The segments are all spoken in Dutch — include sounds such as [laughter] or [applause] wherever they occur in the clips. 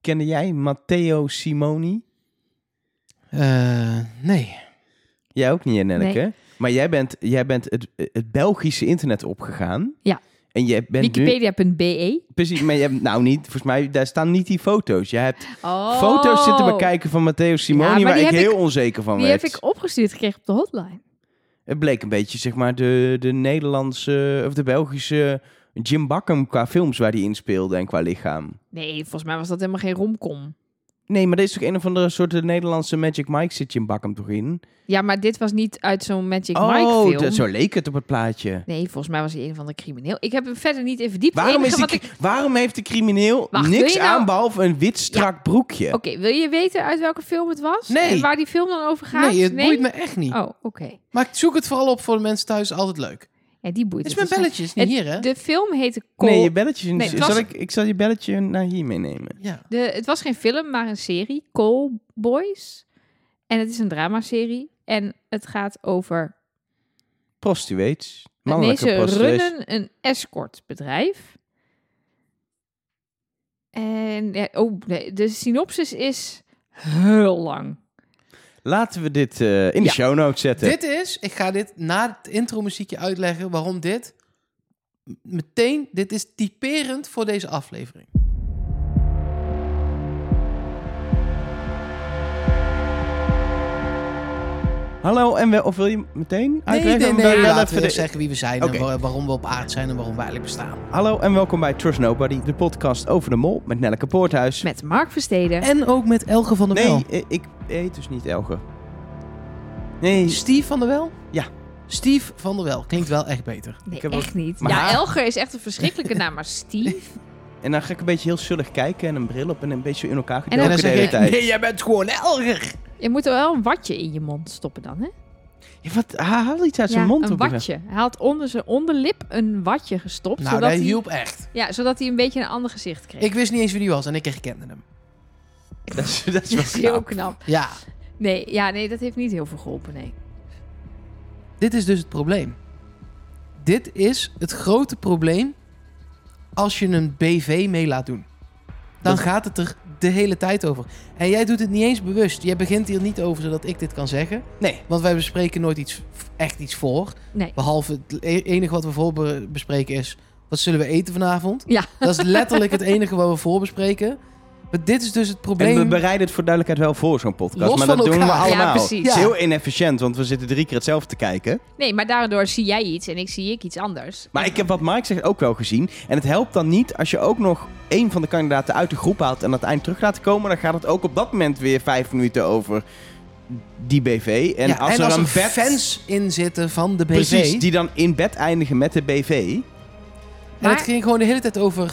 Kende jij Matteo Simoni? Eh, nee. Jij ook niet, Nelleke. Nee. Maar jij bent, jij bent het, het Belgische internet opgegaan. Ja. En jij bent nu... Wikipedia.be. Precies, maar je hebt, nou niet, volgens mij, daar staan niet die foto's. Je hebt Oh. foto's zitten bekijken van Matteo Ja, Simoni, maar waar die ik heb heel onzeker van Die werd. heb ik opgestuurd gekregen op de hotline. Het bleek een beetje, zeg maar, de, de Nederlandse of de Belgische Jim Bakken qua films waar die in speelde en qua lichaam. Nee, volgens mij was dat helemaal geen romcom. Nee, maar dit is toch een of andere soort Nederlandse Magic Mike zit Jim Bakken toch in? Ja, maar dit was niet uit zo'n Magic oh, Mike film. dat- zo leek het op het plaatje. Nee, volgens mij was hij een van de crimineel. Ik heb hem verder niet in verdiept. Het Waarom, is enige die, wat ik... Oké, waarom heeft de crimineel Wacht, wil niks je nou- aan behalve een wit strak broekje? wil je weten uit welke film het was? Nee. En waar die film dan over gaat? Nee, het boeit me echt niet. Oh, oké. Maar ik zoek het vooral op voor de mensen thuis, altijd leuk. Ja, die boeit Het is het mijn belletje, is niet Het- hier, hè? De film heette Call. Nee, je belletje. Nee, het was- zal ik, ik zal je belletje naar hier meenemen. Ja. de, het was geen film, maar een serie. Call Boys. En het is een dramaserie. En het gaat over Prostituees. En Mannelijke Deze prostituees. runnen een escortbedrijf. En ja, oh, nee, de synopsis is heel lang. Laten we dit eh, in de Ja. show notes zetten. Dit is, ik ga dit na het intro muziekje uitleggen waarom dit m- meteen, dit is typerend voor deze aflevering. Hallo, en wel, of wil je meteen uitleggen? nee, Of nee, wil je wel laten even we de- zeggen wie we zijn Oké. en wa- waarom we op aard zijn en waarom we eigenlijk bestaan. Hallo en welkom bij Trust Nobody, de podcast over de mol met Nelleke Poorthuis. Met Mark Versteden. En ook met Elge van der Wel. nee, eh, ik heet dus niet Elge. Nee, Steve van der Wel? Ja. Steve van der Wel, klinkt wel echt beter. nee, ik heb echt niet. maar- Ja, Elger is echt een verschrikkelijke naam, maar [laughs] Steve. en dan ga ik een beetje heel zullig kijken en een bril op en een beetje in elkaar dan gedoken de zeg hele je, tijd. nee, jij bent gewoon Elger. Je moet er wel een watje in je mond stoppen dan, hè? Ja, wat, hij haalt iets uit zijn mond. een op de- watje. Hij had onder zijn onderlip een watje gestopt. Nou, zodat, dat hij, hielp echt. ja, zodat hij een beetje een ander gezicht kreeg. Ik wist niet eens wie die was en ik herkende hem. Dat is, dat [laughs] is wel dat is [laughs] heel knap. knap. Ja, Nee, ja, nee, dat heeft niet heel veel geholpen, nee. dit is dus het probleem. Dit is het grote probleem als je een BV mee laat doen. Dan Dat- gaat het er de hele tijd over. En jij doet het niet eens bewust. Jij begint hier niet over zodat ik dit kan zeggen. Nee, Want wij bespreken nooit iets, echt iets voor. Nee. Behalve het e- enige wat we voor bespreken is... wat zullen we eten vanavond? Ja. Dat is letterlijk het enige wat we voor bespreken. Maar dit is dus het probleem. en we bereiden het voor duidelijkheid wel voor, zo'n podcast. Los maar van dat doen we elkaar. Ja, allemaal. precies. Het is Ja. heel inefficiënt, want we zitten drie keer hetzelfde te kijken. Nee, maar daardoor zie jij iets en ik zie ik iets anders. Maar ik heb wat Mike zegt ook wel gezien. En het helpt dan niet als je ook nog één van de kandidaten uit de groep haalt en aan het eind terug laat komen. Dan gaat het ook op dat moment weer vijf minuten over die BV. En Ja, als er dan bed- fans in zitten van de BV... Precies, die dan in bed eindigen met de BV. En het Maar- ging gewoon de hele tijd over...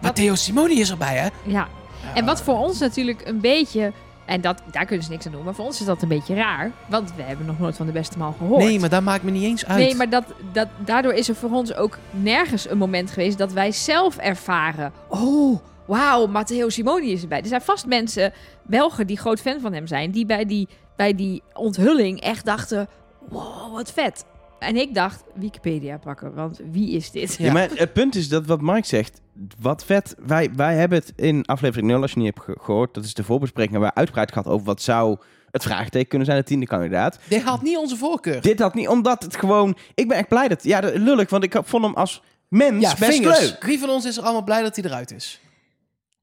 Matteo Simoni is erbij, hè? Ja. En wat voor ons natuurlijk een beetje. En dat, daar kunnen ze niks aan doen. Maar voor ons is dat een beetje raar. Want we hebben nog nooit van de beste maal gehoord. Nee, maar dat maakt me niet eens uit. Nee, maar dat, dat, daardoor is er voor ons ook nergens een moment geweest dat wij zelf ervaren. Oh, wauw, Matteo Simoni is erbij. Er zijn vast mensen, Belgen, die groot fan van hem zijn, die bij die, bij die onthulling echt dachten: wow, wat vet. En ik dacht, Wikipedia pakken, want wie is dit? Ja. maar het punt is dat wat Mike zegt, wat vet. Wij, wij hebben het in aflevering 0, als je niet hebt ge- gehoord, dat is de voorbespreking, hebben we uitgebreid gehad over wat zou het vraagteken kunnen zijn, de tiende kandidaat. Dit had niet onze voorkeur. Dit had niet, omdat het gewoon... Ik ben echt blij dat... Ja, dat- lullig, want ik vond hem als mens ja, best vingers. leuk. Wie van ons is er allemaal blij dat hij eruit is?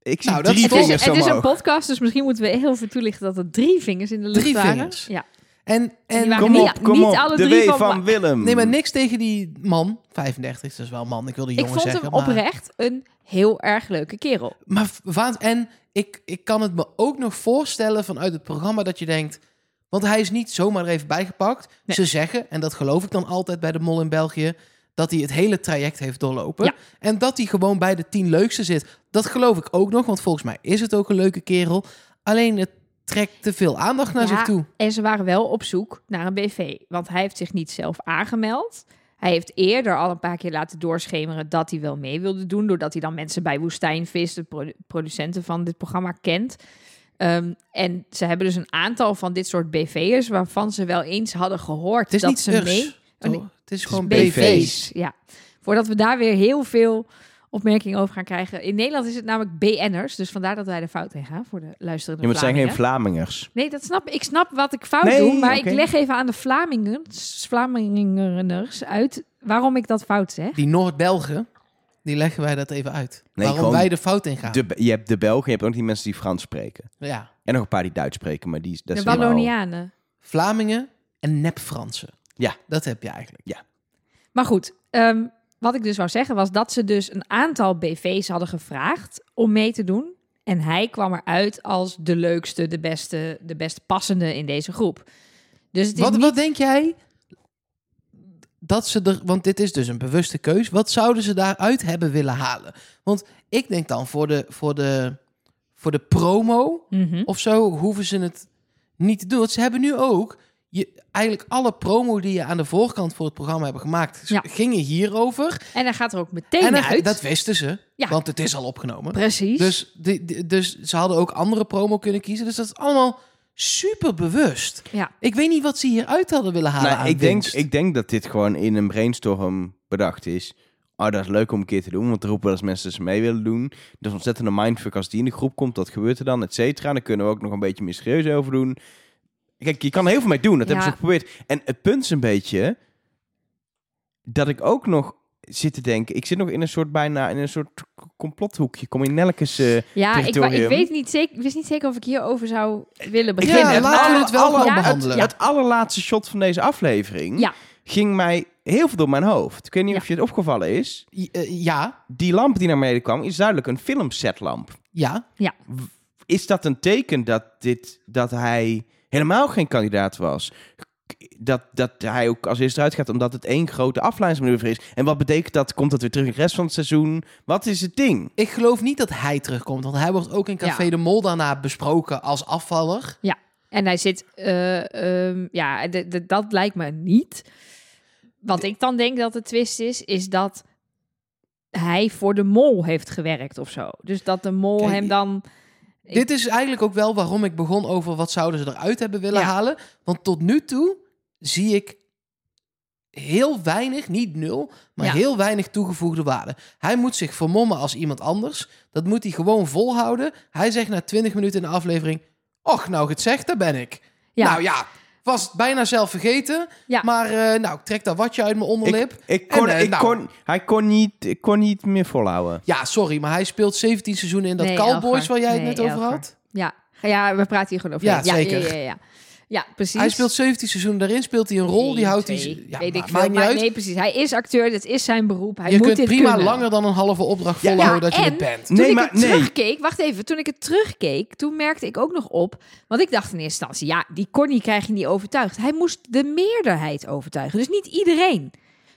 Ik zie Nou, dat drie is toch- Het is, vingers het is een omhoog. podcast, dus misschien moeten we heel even toelichten dat er drie vingers in de lucht Drie waren. vingers. Ja. En, Die en waren Kom niet- op, kom niet op. alle de drie W van- van, Willem. Nee, maar niks tegen die man. 35, dat is wel een man. Ik wilde Ik jongen vond zeggen. hem maar- oprecht een heel erg leuke kerel. Maar, v- waans- en ik, ik kan het me ook nog voorstellen vanuit het programma dat je denkt... Want hij is niet zomaar er even bijgepakt. Nee. Ze zeggen, en dat geloof ik dan altijd bij de mol in België... dat hij het hele traject heeft doorlopen. Ja. En dat hij gewoon bij de tien leukste zit. Dat geloof ik ook nog, want volgens mij is het ook een leuke kerel. Alleen het trekt te veel aandacht naar Ja, zich toe. En ze waren wel op zoek naar een BV, want hij heeft zich niet zelf aangemeld. Hij heeft eerder al een paar keer laten doorschemeren dat hij wel mee wilde doen, doordat hij dan mensen bij Woestijnvis, de produ- producenten van dit programma, kent. Ehm, en ze hebben dus een aantal van dit soort BV'ers waarvan ze wel eens hadden gehoord Het is dat niet ze urs, mee. toch? Het is gewoon BV's. BV's. Ja. Voordat we daar weer heel veel opmerkingen over gaan krijgen. In Nederland is het namelijk BN'ers, dus vandaar dat wij er fout in gaan voor de luisterende Ja, maar het zijn geen Vlamingen. Vlamingers. Nee, dat snap ik. Ik snap wat ik fout Nee, doe, maar oké. ik leg even aan de Vlamingers, Vlamingers uit waarom ik dat fout zeg. Die Noord-Belgen, die leggen wij dat even uit. Waarom gewoon wij de fout in gaan. De, je hebt de Belgen, je hebt ook die mensen die Frans spreken. Ja, En nog een paar die Duits spreken, maar die dat de is helemaal- Wallonianen. Vlamingen en nep-Fransen. Ja. Dat heb je eigenlijk. Maar goed, ehm, wat ik dus wou zeggen was dat ze dus een aantal BV's hadden gevraagd om mee te doen. En hij kwam eruit als de leukste, de beste, de best passende in deze groep. Dus het is Wat, niet- wat denk jij dat ze er... Want dit is dus een bewuste keus. Wat zouden ze daaruit hebben willen halen? Want ik denk dan voor de, voor de, voor de promo... Mhm. of zo hoeven ze het niet te doen. Want ze hebben nu ook je, eigenlijk alle promo die je aan de voorkant voor het programma hebben gemaakt, Ja. gingen hierover. En hij gaat er ook meteen en dan- uit. dat wisten ze, Ja. want het is al opgenomen. Precies. Dus, die- die- dus ze hadden ook andere promo kunnen kiezen. Dus dat is allemaal super bewust. Ja. Ik weet niet wat ze hieruit hadden willen halen. Nou, aan ik, denk, winst. ik denk dat dit gewoon in een brainstorm bedacht is. Oh, dat is leuk om een keer te doen, want er roepen wel eens mensen dat ze mee willen doen. Dat is ontzettend een mindfuck als die in de groep komt. Wat gebeurt er dan, et cetera? Dan kunnen we ook nog een beetje mysterieus over doen. Kijk, je kan er heel veel mee doen. Dat Ja. hebben ze ook geprobeerd. En het punt is een beetje dat ik ook nog zit te denken. Ik zit nog in een soort bijna in een soort complothoekje. Kom in Nelkens. eh, ja, ik, wa- ik territorium. weet niet zeker, ik wist niet zeker of ik hierover zou willen Ik beginnen. vind ja, het laten we alle- het wel alle- gewoon ja, het- behandelen. ja. Het allerlaatste shot van deze aflevering Ja. ging mij heel veel door mijn hoofd. Ik weet niet Ja. of je het opgevallen is. I- eh, ja, Die lamp die naar beneden kwam is duidelijk een filmsetlamp. ja. Is dat een teken dat, dit, dat hij helemaal geen kandidaat was? Dat, dat hij ook als eerste eruit gaat omdat het één grote afleidingsmanoeuvre is. En wat betekent dat? Komt dat weer terug in de rest van het seizoen? Wat is het ding? Ik geloof niet dat hij terugkomt, want hij wordt ook in Café Ja. de Mol daarna besproken als afvaller. En hij zit, eh, ehm, ja, d- d- dat lijkt me niet. Wat ik dan denk dat de twist is, is dat hij voor de mol heeft gewerkt of zo. Dus dat de mol Kijk, hem dan... Ik- Dit is eigenlijk ook wel waarom ik begon over wat zouden ze eruit hebben willen Ja. halen. Want tot nu toe zie ik heel weinig, niet nul, maar Ja. heel weinig toegevoegde waarde. Hij moet zich vermommen als iemand anders. Dat moet hij gewoon volhouden. Hij zegt na 20 minuten in de aflevering: Och, nou gezegd, daar ben ik. Ja, Nou ja, was bijna zelf vergeten. Ja. Maar eh, nou, ik trek dat watje uit mijn onderlip. Ik, ik kon, En, eh, ik nou. kon, hij kon niet, ik kon niet meer volhouden. Ja, sorry, maar hij speelt 17 seizoenen in dat Nee, Cowboys Elger. waar jij het Nee, net over Elger. had. ja, ja, we praten hier gewoon over. Ja, zeker. Ja, ja, ja. ja precies. Hij speelt 17 seizoenen, daarin speelt hij een rol, die Eén, houdt twee, hij... Ja, weet ma- ik maakt veel. niet Maar uit. nee, precies. Hij is acteur, dat is zijn beroep. Hij je moet kunt dit prima kunnen. langer dan een halve opdracht Ja. volhouden Ja, dat je en- het bent. Toen Nee, ik maar- het nee. terugkeek, wacht even, toen ik het terugkeek, toen merkte ik ook nog op, want ik dacht in eerste instantie, ja, die Connie krijg je niet overtuigd. Hij moest de meerderheid overtuigen, dus niet iedereen.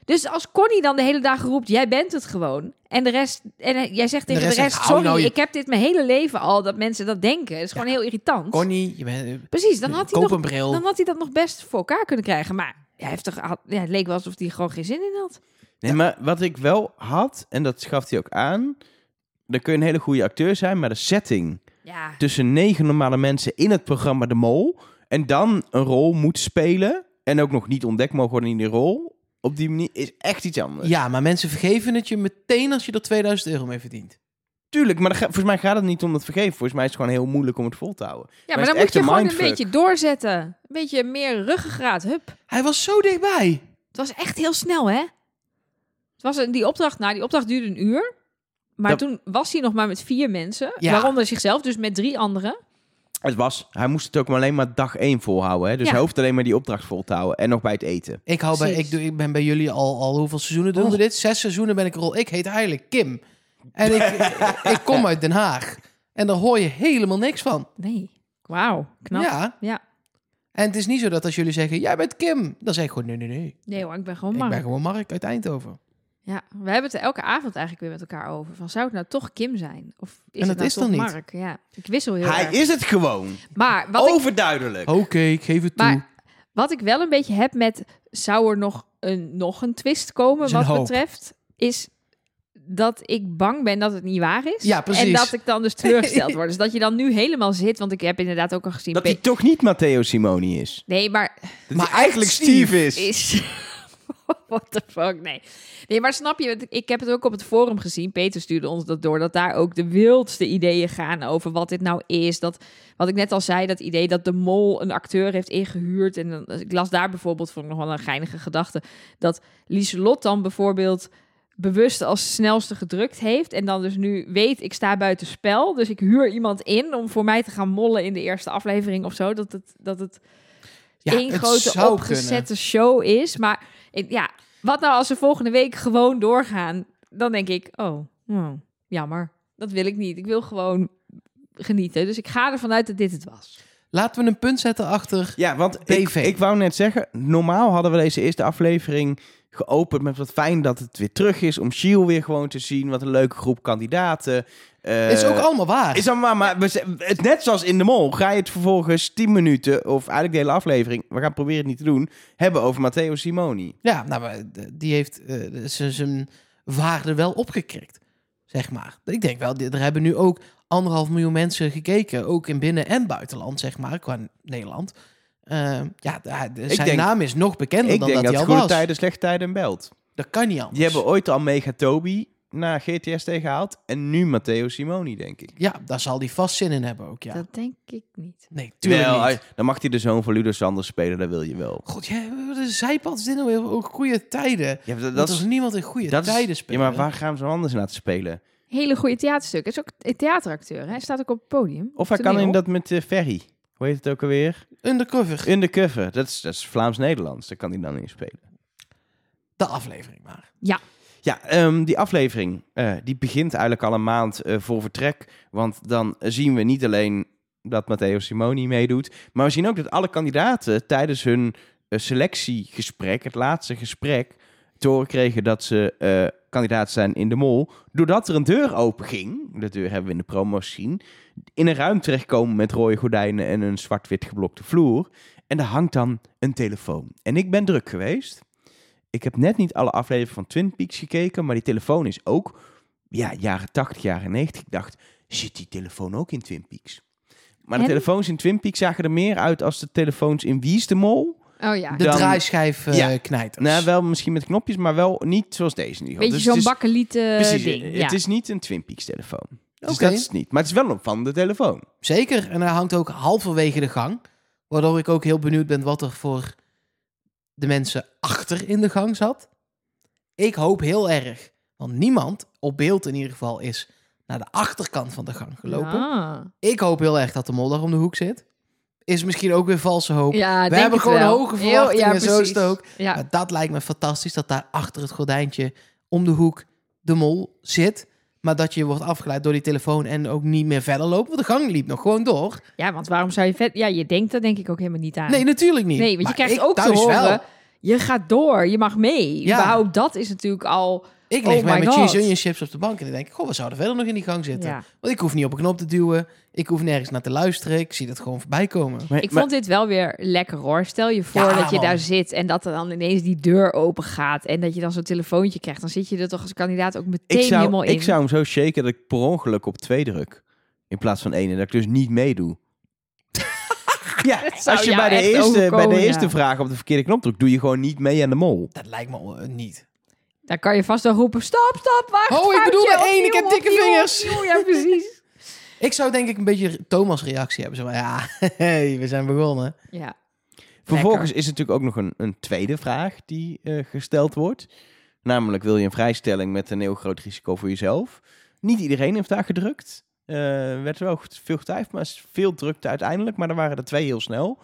Dus als Connie dan de hele dag roept, jij bent het gewoon, en de rest, en eh, jij zegt de tegen de rest rest, zegt, hou sorry, nou je- ik heb dit mijn hele leven al, dat mensen dat denken, dat is gewoon heel irritant. Connie, je bent, eh, Precies, dan had, hij koop nog, een bril. dan had hij dat nog best voor elkaar kunnen krijgen, maar hij heeft toch, had- ja, het leek wel alsof hij er gewoon geen zin in had. Nee, maar wat ik wel had, en dat gaf hij ook aan. Dan kun je een hele goede acteur zijn, maar de setting Ja, tussen negen normale mensen in het programma De Mol. en dan een rol moet spelen. en ook nog niet ontdekt mogen worden in die rol. op die manier is echt iets anders. Ja, maar mensen vergeven het je meteen als je er 2000 euro mee verdient. tuurlijk, maar dat ga- volgens mij gaat het niet om dat vergeven. Volgens mij is het gewoon heel moeilijk om het vol te houden. ja Maar maar het dan is moet echt je een gewoon mindfuck. een beetje doorzetten. Een beetje meer ruggengraat, hup. Hij was zo dichtbij. Het was echt heel snel, hè? Het was een, die opdracht, nou, die opdracht duurde een uur. Maar Dat- toen was hij nog maar met vier mensen. Ja. Waaronder zichzelf, dus met drie anderen. Het was, hij moest het ook maar alleen maar dag één volhouden. Hè? Dus Ja. hij hoeft alleen maar die opdracht vol te houden. en nog bij het eten. Ik, hou bij, Precies. ik, doe, ik ben bij jullie al, al hoeveel seizoenen doen we Oh. dit? Zes seizoenen ben ik er al. Ik heet eigenlijk Kim. En ik, [laughs] ik kom uit Den Haag. En daar hoor je helemaal niks van. Nee. Wauw, knap. Ja. Ja. En het is niet zo dat als jullie zeggen, jij bent Kim. Dan zeg ik gewoon, nee, nee, nee. Nee hoor, ik ben gewoon ik Mark. ben gewoon Mark uit Eindhoven. Ja, we hebben het er elke avond eigenlijk weer met elkaar over. Van, zou het nou toch Kim zijn? Of is het En dat nou is toch dan niet. Mark? Ja, ik wissel heel Hij erg. is Oh, het gewoon. Maar wat ik Overduidelijk. Oké, ik geef het toe. Maar wat ik wel een beetje heb met zou er nog een, nog een twist komen Is een wat hoop. betreft, is dat ik bang ben dat het niet waar is. Ja, precies. En dat ik dan dus [laughs] teleurgesteld word. Dus dat je dan nu helemaal zit, want ik heb inderdaad ook al gezien... Dat Pe- hij toch niet Matteo Simoni is. Nee, maar Dat Maar hij eigenlijk echt Steve Steve is. is... [laughs] What the fuck, nee. Nee, maar snap je, ik heb het ook op het forum gezien. Peter stuurde ons dat door, dat daar ook de wildste ideeën gaan over wat dit nou is. Dat, wat ik net al zei, dat idee dat de mol een acteur heeft ingehuurd. En dan, ik las daar bijvoorbeeld, vond ik nog wel een geinige gedachte, dat Lieselot dan bijvoorbeeld bewust als snelste gedrukt heeft. En dan dus nu weet, ik sta buiten spel. Dus ik huur iemand in om voor mij te gaan mollen in de eerste aflevering of zo. Dat het, dat het Ja, één het grote zou opgezette kunnen. show is. Maar ik- ja, wat nou als ze volgende week gewoon doorgaan? Dan denk ik, oh, hmm, jammer. Dat wil ik niet. Ik wil gewoon genieten. Dus ik ga ervan uit dat dit het was. Laten we een punt zetten achter. Ja, want ik, PV. ik wou net zeggen, normaal hadden we deze eerste aflevering geopend met wat fijn dat het weer terug is. Om Shiel weer gewoon te zien. Wat een leuke groep kandidaten. Eh, is ook allemaal waar. Is allemaal, maar we z- het, net zoals in de mol ga je het vervolgens 10 minuten, of eigenlijk de hele aflevering, we gaan proberen het niet te doen, hebben over Matteo Simoni. Ja, nou, maar de- die heeft eh, ze zijn waarde wel opgekrikt, zeg maar. Ik denk wel, dit- er hebben nu ook anderhalf miljoen mensen gekeken, ook in binnen- en buitenland, zeg maar, qua Nederland. Eh, ja, da- de- zijn denk- naam is nog bekender Ik dan denk dat dat, hij al goede was. tijden, slechte tijden belt. Dat kan niet anders. Die hebben ooit al Mega Toby naar GTS tegengehaald en nu Matteo Simoni, denk ik. Ja, daar zal hij vast zin in hebben ook, ja. Dat denk ik niet. Nee, tuurlijk Wel, niet. hij- dan mag hij de zoon van Ludo Sanders spelen, dat wil je wel. God, ja, wat een zijpad is dit nou weer? Ook goede tijden. Ja, dat, Dat is niemand in goede dat is- tijden spelen. Ja, maar waar gaan ze hem anders laten spelen? Hele goede theaterstuk. Hij is ook een theateracteur. Hij staat ook op het podium. Of hij kan Toneel. in dat met eh, Ferry. Hoe heet het ook alweer? Undercover, Undercover. Dat is, dat is Vlaams-Nederlands. Daar kan hij dan in spelen. de aflevering maar. Ja, ehm, die aflevering eh, die begint eigenlijk al een maand eh, voor vertrek. Want dan zien we niet alleen dat Matteo Simoni meedoet. Maar we zien ook dat alle kandidaten tijdens hun eh, selectiegesprek, het laatste gesprek, te horen kregen dat ze eh, kandidaat zijn in de mol. Doordat er een deur open ging, de deur hebben we in de promo gezien, in een ruimte terechtkomen met rode gordijnen en een zwart-wit geblokte vloer. En daar hangt dan een telefoon. En ik ben druk geweest. Ik heb net niet alle afleveringen van Twin Peaks gekeken, maar die telefoon is ook ja, jaren 80, jaren 90. Ik dacht, zit die telefoon ook in Twin Peaks? Maar de En? telefoons in Twin Peaks zagen er meer uit als de telefoons in Wie is de Mol? Oh ja. De Dan- draaischijf eh, Ja. knijters. Nou, wel misschien met knopjes, maar wel niet zoals deze in ieder geval. Beetje Dus zo'n het is- bakkelieten Precies, eh, ding. het ja. is niet een Twin Peaks telefoon. Dus Oké. dat is het niet. Maar het is wel een van de telefoon. Zeker, en hij hangt ook halverwege de gang. Waardoor ik ook heel benieuwd ben wat er voor de mensen achter in de gang zat. Ik hoop heel erg, want niemand, op beeld in ieder geval, is naar de achterkant van de gang gelopen. Ah. Ik hoop heel erg dat de mol daar om de hoek zit. Is misschien ook weer valse hoop. Ja, We denk hebben het gewoon wel. hoge Heel- verwachtingen, ja, zo is het precies. ook. Ja. Maar dat lijkt me fantastisch, dat daar achter het gordijntje om de hoek de mol zit. Maar dat je wordt afgeleid door die telefoon en ook niet meer verder loopt. Want de gang liep nog gewoon door. ja, want waarom zou je vet... Ja, je denkt dat denk ik ook helemaal niet aan. Nee, natuurlijk niet. Nee, want Maar je krijgt ik ook te thuis horen, wel. je gaat door, je mag mee. Ja. Überhaupt, dat is natuurlijk al... Ik leg Oh mij my met God. cheese onion chips op de bank en dan denk ik... Goh, we zouden verder nog in die gang zitten. Ja. Want ik hoef niet op een knop te duwen. Ik hoef nergens naar te luisteren. Ik zie dat gewoon voorbij komen. Maar- Ik maar- vond dit wel weer lekker hoor. Stel je voor Ja, dat je man. daar zit en dat er dan ineens die deur open gaat en dat je dan zo'n telefoontje krijgt. Dan zit je er toch als kandidaat ook meteen Ik zou, helemaal in. ik zou hem zo shaken dat ik per ongeluk op twee druk. In plaats van één. En dat ik dus niet [laughs] meedoe. ja, zou als je bij jou de, echt eerste, bij overkomen, de ja. eerste vraag op de verkeerde knop drukt, doe je gewoon niet mee aan de mol. Dat lijkt me eh, niet. Dan kan je vast wel roepen, stop, stop, wacht. Oh, ik foutje, bedoel er één, opnieuw, ik heb dikke opnieuw, vingers. opnieuw. Ja, precies. Ik zou denk ik een beetje Thomas' reactie hebben. Zo van, ja, [laughs] hey, we zijn begonnen. Ja. Vervolgens is er natuurlijk ook nog een, een tweede vraag die eh, gesteld wordt. Namelijk, wil je een vrijstelling met een heel groot risico voor jezelf? Niet iedereen heeft daar gedrukt. Eh werd wel goed- veel getwijfeld, maar is veel drukte uiteindelijk. Maar er waren er twee heel snel.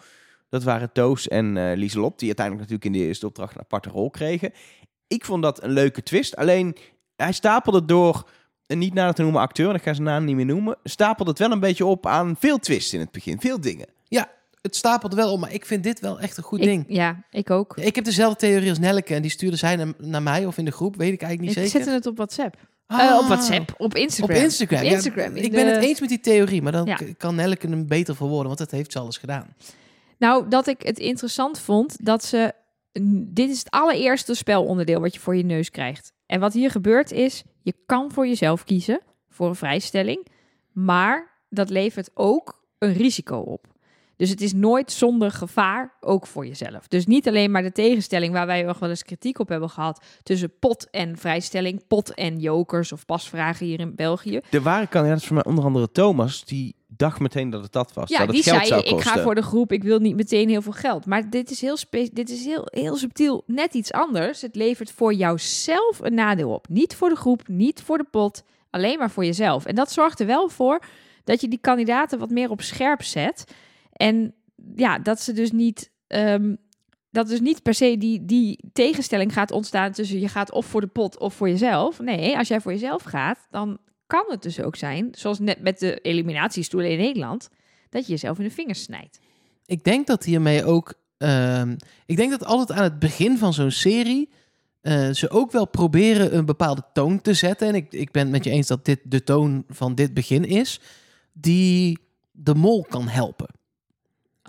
Dat waren Toos en eh Lieselot, die uiteindelijk natuurlijk in de eerste opdracht een aparte rol kregen. Ik vond dat een leuke twist. Alleen, hij stapelde door een niet nader te noemen acteur, en ik ga zijn naam niet meer noemen, stapelde het wel een beetje op aan veel twists in het begin. Veel dingen. Het stapelt wel op, maar ik vind dit wel echt een goed Ik- ding. Ja, ik ook. Ja, Ik heb dezelfde theorie als Nelleke en die stuurde zij na- naar mij of in de groep, weet ik eigenlijk niet Ik zeker. zette het op WhatsApp. Ah, Eh, op WhatsApp, op Op Instagram. Instagram. Op ja. Instagram, in ik ben de- het eens met die theorie, maar dan Ja. k- kan Nelleke hem beter verwoorden, want dat heeft ze alles gedaan. Nou, dat ik het interessant vond dat ze. Dit is het allereerste spelonderdeel wat je voor je neus krijgt. En wat hier gebeurt is: je kan voor jezelf kiezen voor een vrijstelling, maar dat levert ook een risico op. Dus het is nooit zonder gevaar, ook voor jezelf. Dus niet alleen maar de tegenstelling waar wij nog wel eens kritiek op hebben gehad tussen pot en vrijstelling, pot en jokers of pasvragen hier in België. Er waren kandidaten voor mij, onder andere Thomas, die dacht meteen dat het dat was. Ja, dat het die geld zei: zou Ik kosten. ga voor de groep, ik wil niet meteen heel veel geld. Maar dit is, heel, spe- dit is heel, heel subtiel, net iets anders. Het levert voor jouzelf een nadeel op. Niet voor de groep, niet voor de pot, alleen maar voor jezelf. En dat zorgt er wel voor dat je die kandidaten wat meer op scherp zet. En ja, dat ze dus niet. ehm, dat dus niet per se die, die tegenstelling gaat ontstaan tussen je gaat of voor de pot of voor jezelf. Nee, als jij voor jezelf gaat, dan kan het dus ook zijn, zoals net met de eliminatiestoelen in Nederland, dat je jezelf in de vingers snijdt. Ik denk dat hiermee ook. ehm, ik denk dat altijd aan het begin van zo'n serie. eh, ze ook wel proberen een bepaalde toon te zetten. En ik, ik ben het met je eens dat dit de toon van dit begin is. Die de mol kan helpen.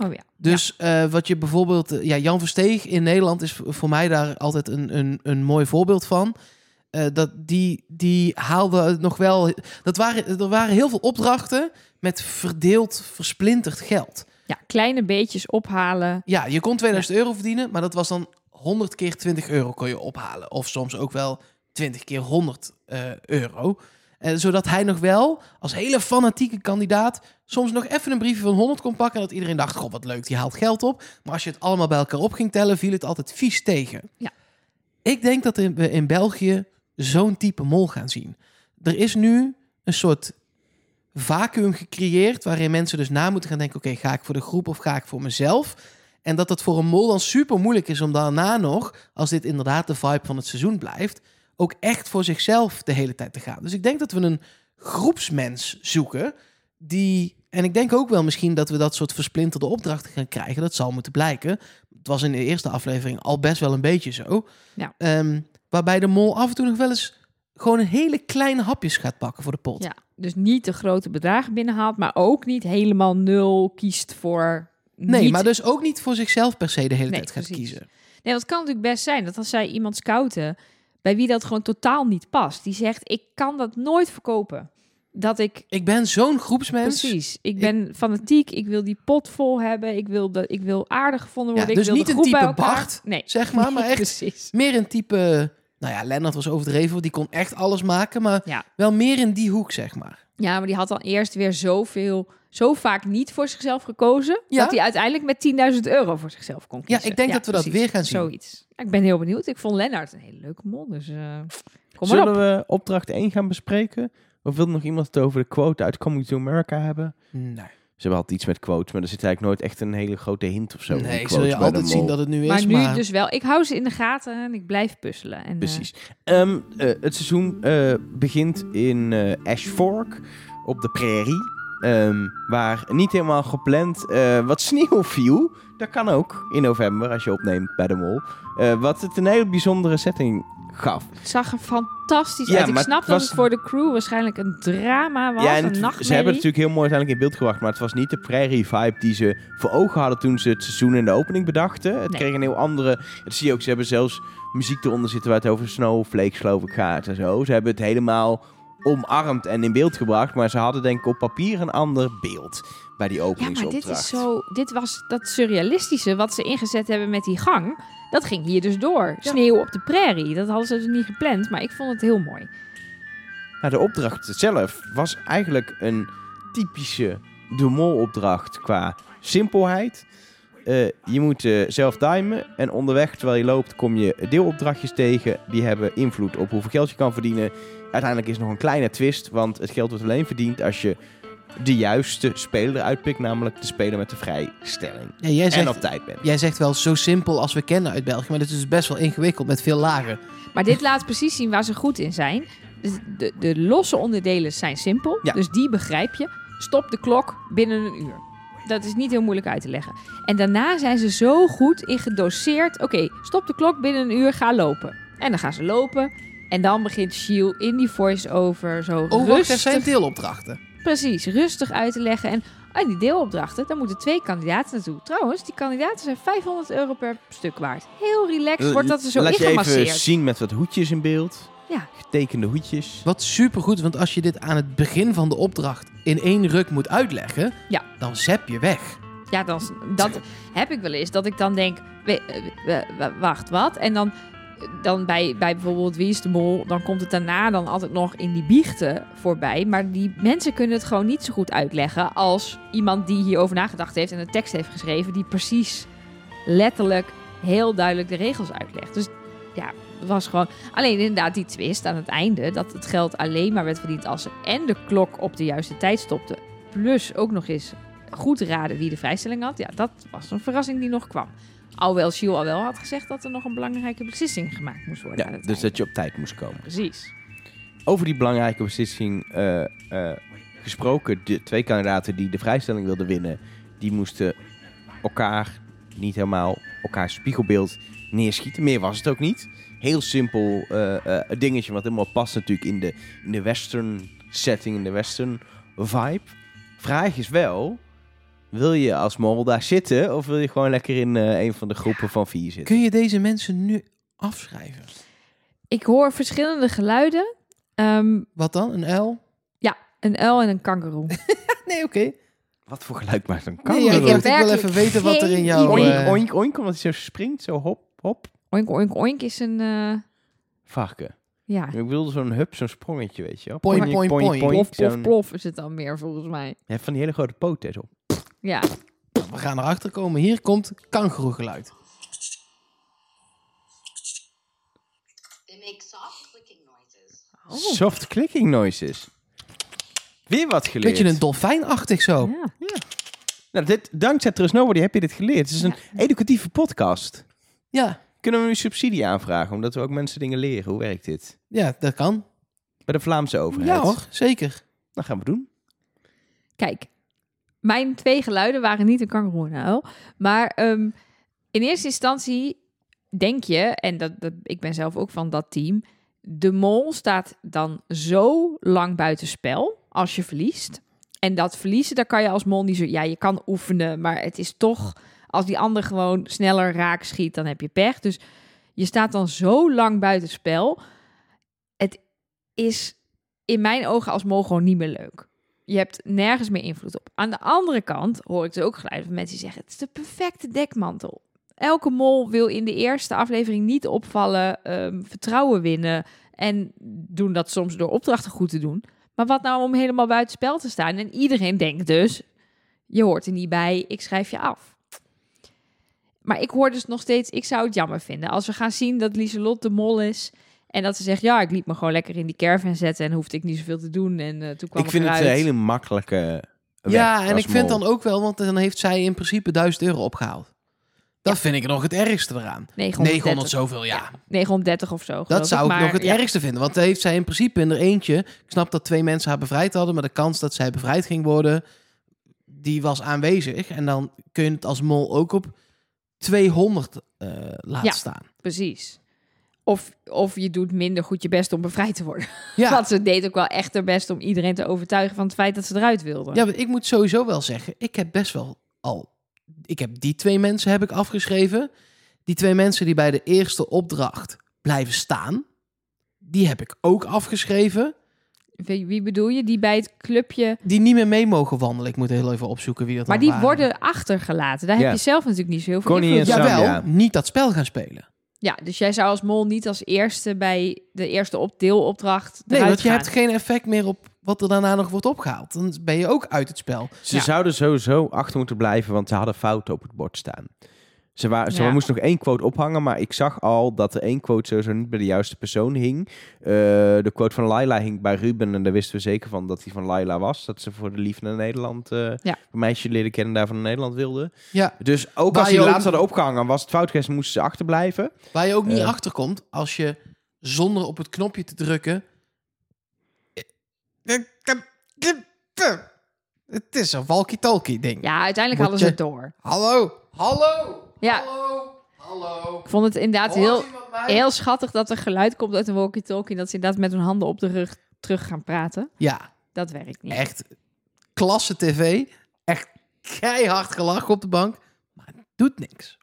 Oh ja. Dus eh, wat je bijvoorbeeld. eh, Ja, Jan Versteeg in Nederland is v- voor mij daar altijd een, een, een mooi voorbeeld van. Eh, dat die, die haalde het nog wel. Dat waren, er waren heel veel opdrachten met verdeeld, versplinterd geld. ja, kleine beetjes ophalen. Ja, je kon 2000 euro verdienen, maar dat was dan 100 keer 20 euro kon je ophalen. Of soms ook wel 20 keer 100 eh, euro. Eh, zodat hij nog wel, als hele fanatieke kandidaat, soms nog even een briefje van 100 kon pakken. En dat iedereen dacht, god wat leuk, die haalt geld op. Maar als je het allemaal bij elkaar op ging tellen, viel het altijd vies tegen. Ja. Ik denk dat in- we in België zo'n type mol gaan zien. Er is nu een soort vacuüm gecreëerd waarin mensen dus na moeten gaan denken... oké, ga ik voor de groep of ga ik voor mezelf? En dat dat voor een mol dan super moeilijk is om daarna nog, als dit inderdaad de vibe van het seizoen blijft, ook echt voor zichzelf de hele tijd te gaan. Dus ik denk dat we een groepsmens zoeken die. En ik denk ook wel misschien dat we dat soort versplinterde opdrachten gaan krijgen. Dat zal moeten blijken. Het was in de eerste aflevering al best wel een beetje zo. Ja. Ehm, waarbij de mol af en toe nog wel eens gewoon een hele kleine hapjes gaat pakken voor de pot. Ja, dus niet de grote bedragen binnenhaalt, maar ook niet helemaal nul kiest voor. nee, niet- maar dus ook niet voor zichzelf per se de hele Nee, tijd gaat precies. kiezen. nee, dat kan natuurlijk best zijn dat als zij iemand scouten bij wie dat gewoon totaal niet past, die zegt: Ik kan dat nooit verkopen. Dat ik. Ik ben zo'n groepsmens. Precies. Ik ben fanatiek. Ik wil die pot vol hebben. Ik wil, dat, ik wil aardig gevonden Ja, worden. dus ik wil niet de een groep bij type elkaar. Bart, Nee. zeg [laughs] maar, maar echt Precies. meer een type. Nou ja, Lennart was overdreven, want die kon echt alles maken, maar Ja. wel meer in die hoek, zeg maar. Ja, maar die had dan eerst weer zoveel, zo vaak niet voor zichzelf gekozen. Ja. Dat hij uiteindelijk met 10.000 euro voor zichzelf kon kiezen. ik denk dat we dat weer gaan zien. Zoiets. Ja, ik ben heel benieuwd. Ik vond Lennart een hele leuke mol. Dus eh, kom maar Zullen op. we opdracht 1 gaan bespreken? Of wil nog iemand het over de quote uit Coming to America hebben? Nee, Ze hebben altijd iets met quotes, maar er zit eigenlijk nooit echt een hele grote hint of zo. in nee ik quotes zul je bij de altijd zien mol. dat het nu Maar is, nu maar dus wel. Ik hou ze in de gaten en ik blijf puzzelen. En, eh, Precies. Ehm, eh, het seizoen eh, begint in eh, Ash Fork op de prairie. ehm, waar niet helemaal gepland eh, wat sneeuw viel. Dat kan ook in november als je opneemt bij de mol. Eh, wat het een hele bijzondere setting gaf. het zag er fantastisch Ja, uit. Ik maar snap het dat was- het voor de crew waarschijnlijk een drama was. ja, en een het- nachtmerrie. ze hebben het natuurlijk heel mooi uiteindelijk in beeld gebracht. Maar het was niet de prairie vibe die ze voor ogen hadden toen ze het seizoen en de opening bedachten. Het Nee. kreeg een heel andere. Dat zie je ook. Ze hebben zelfs muziek eronder zitten waar het over snowflakes, geloof ik, gaat en zo. Ze hebben het helemaal omarmd en in beeld gebracht. Maar ze hadden denk ik op papier een ander beeld bij die Ja, maar openingsopdracht. dit is zo. Dit was dat surrealistische wat ze ingezet hebben met die gang. Dat ging hier dus door. Sneeuw op de prairie. Dat hadden ze dus niet gepland, maar ik vond het heel mooi. Maar Nou, de opdracht zelf was eigenlijk een typische de mol opdracht qua simpelheid. Eh, je moet eh, zelf timen en onderweg terwijl je loopt kom je deelopdrachtjes tegen. Die hebben invloed op hoeveel geld je kan verdienen. Uiteindelijk is nog een kleine twist, want het geld wordt alleen verdiend als je de juiste speler uitpikt, namelijk de speler met de vrijstelling. ja, jij, En zegt, op tijd bent. jij zegt wel zo simpel als we kennen uit België, maar dit is dus best wel ingewikkeld met veel lagen. Maar [laughs] dit laat precies zien waar ze goed in zijn. Dus de, de losse onderdelen zijn simpel, Ja. dus die begrijp je. Stop de klok binnen een uur. Dat is niet heel moeilijk uit te leggen. En daarna zijn ze zo goed in gedoseerd. Oké, stop de klok binnen een uur, ga lopen. En dan gaan ze lopen. En dan begint Shiel in die voice-over zo Oh, wacht, er rustig zijn deelopdrachten. Precies, rustig uit te leggen. En, en die deelopdrachten, daar moeten twee kandidaten naartoe. Trouwens, die kandidaten zijn 500 euro per stuk waard. Heel relaxed Dus wordt dat er zo Eh, Laat je even ingemasseerd. zien met wat hoedjes in beeld. Ja. Getekende hoedjes. Wat supergoed, want als je dit aan het begin van de opdracht in één ruk moet uitleggen, Ja. dan zep je weg. Ja, dan, dat heb ik wel eens. Dat ik dan denk, we- eh, we- we- wacht, wat? En dan, dan bij, bij bijvoorbeeld Wie is de Mol... dan komt het daarna dan altijd nog in die biechten voorbij. Maar die mensen kunnen het gewoon niet zo goed uitleggen... als iemand die hierover nagedacht heeft en een tekst heeft geschreven... die precies letterlijk heel duidelijk de regels uitlegt. Dus ja, het was gewoon... Alleen inderdaad die twist aan het einde... dat het geld alleen maar werd verdiend als ze... en de klok op de juiste tijd stopte. Plus ook nog eens goed raden wie de vrijstelling had. Ja, dat was een verrassing die nog kwam. Alhoewel Sjoel al wel had gezegd dat er nog een belangrijke beslissing gemaakt moest worden. aan Ja, het dus einde. dat je op tijd moest komen. Precies. Over die belangrijke beslissing eh, eh, gesproken. De twee kandidaten die de vrijstelling wilden winnen, die moesten elkaar niet helemaal, elkaar spiegelbeeld neerschieten. Meer was het ook niet. Heel simpel eh, eh, dingetje, wat helemaal past natuurlijk in de, in de western setting, in de western vibe. Vraag is wel, wil je als mol daar zitten of wil je gewoon lekker in eh, een van de groepen van vier zitten? Kun je deze mensen nu afschrijven? Ik hoor verschillende geluiden. Ehm, Wat dan? Een L? een uil en een kangeroe. [laughs] Nee, oké. Wat voor geluid maakt een Nee, kangaroo? Oh, ik dacht, ik wil Werkelijk even weten wat er in jouw... geen Oink, eh, oink, oink, omdat hij zo springt, zo hop, hop. oink, oink, oink is een... eh, Varken. ja, Ik bedoel zo'n hup, zo'n sprongetje, weet je wel. Poing, Poing, poing, poing, poing. poing. plof, plof, Zo'n- plof is het dan meer volgens mij. Je hebt van die hele grote poten zo. Ja, We gaan erachter komen. Hier komt kangoeroegeluid. They make soft clicking noises. Oh. Soft clicking noises. Weer wat geleerd. Beetje een dolfijnachtig zo. ja. nou, dit, dankzij Trust Nobody heb je dit geleerd. Het is een educatieve podcast. Ja, Kunnen we nu subsidie aanvragen, omdat we ook mensen dingen leren? Hoe werkt dit? ja dat kan. Bij de Vlaamse overheid. Ja hoor, zeker. Dat gaan we doen. Kijk, mijn twee geluiden waren niet een kangeroe en een uil. Maar ehm, in eerste instantie denk je, en dat, dat, ik ben zelf ook van dat team... de mol staat dan zo lang buitenspel als je verliest. En dat verliezen, daar kan je als mol niet zo... Ja, je kan oefenen, maar het is toch... Als die ander gewoon sneller raak schiet, dan heb je pech. Dus je staat dan zo lang buitenspel. Het is in mijn ogen als mol gewoon niet meer leuk. Je hebt nergens meer invloed op. Aan de andere kant hoor ik dus ook geluiden van mensen die zeggen... het is de perfecte dekmantel. Elke mol wil in de eerste aflevering niet opvallen, ehm, vertrouwen winnen... en doen dat soms door opdrachten goed te doen. Maar wat nou om helemaal buitenspel te staan? En iedereen denkt dus, je hoort er niet bij, ik schrijf je af. Maar ik hoor dus nog steeds, ik zou het jammer vinden... als we gaan zien dat Lieselot de mol is... En dat ze zegt, ja, ik liep me gewoon lekker in die caravan zetten... en hoefde ik niet zoveel te doen. En eh, toen kwam Ik vind het eruit. een hele makkelijke weg Ja, en als ik vind mol. dan ook wel, want dan heeft zij in principe 1000 euro opgehaald. Dat vind ik nog het ergste eraan. 930. 900 zoveel, ja. 930 of zo. geloof Dat zou ik maar, nog het ja. ergste vinden. Want daar heeft zij in principe in haar eentje... Ik snap dat twee mensen haar bevrijd hadden... maar de kans dat zij bevrijd ging worden... die was aanwezig. En dan kun je het als mol ook op 200 eh, laten Ja. staan. Precies. Of, of je doet minder goed je best om bevrijd te worden. Ja. Want ze deed ook wel echt haar best om iedereen te overtuigen van het feit dat ze eruit wilde. Ja, maar ik moet sowieso wel zeggen, ik heb best wel al. Ik heb die twee mensen heb ik afgeschreven. Die twee mensen die bij de eerste opdracht blijven staan, die heb ik ook afgeschreven. Wie, wie bedoel je? Die bij het clubje... Die niet meer mee mogen wandelen. Ik moet heel even opzoeken wie dat Maar dan die waren. worden achtergelaten. Daar Ja. heb je zelf natuurlijk niet zo heel veel Connie invloed en op. Sam. Jawel, Ja. niet dat spel gaan spelen. Ja, dus jij zou als mol niet als eerste bij de eerste op deelopdracht Nee, eruit want je gaan. hebt geen effect meer op wat er daarna nog wordt opgehaald. Dan ben je ook uit het spel. Ze Ja. zouden sowieso achter moeten blijven, want ze hadden fouten op het bord staan. Ze, waren, ze Ja. moesten nog één quote ophangen, maar ik zag al dat er één quote sowieso niet bij de juiste persoon hing. Eh, de quote van Laila hing bij Ruben en daar wisten we zeker van dat die van Laila was. Dat ze voor de liefde naar Nederland, eh, een meisje leren kennen daarvan naar Nederland wilde. Ja, Dus ook Waar als die je ook- laatst hadden opgehangen, was het fout geweest, moesten ze achterblijven. Waar je ook niet Eh. achter komt als je zonder op het knopje te drukken. eh, Het is een walkie-talkie ding. Ja, uiteindelijk Moet hadden ze je- het door. Hallo, hallo, Ja. hallo, hallo. Ik vond het Oh, inderdaad heel, heel schattig dat er geluid komt uit een walkie-talkie... dat ze inderdaad met hun handen op de rug terug gaan praten. Ja, Dat werkt niet. echt klasse tv. Echt keihard gelach op de bank. Maar het doet niks.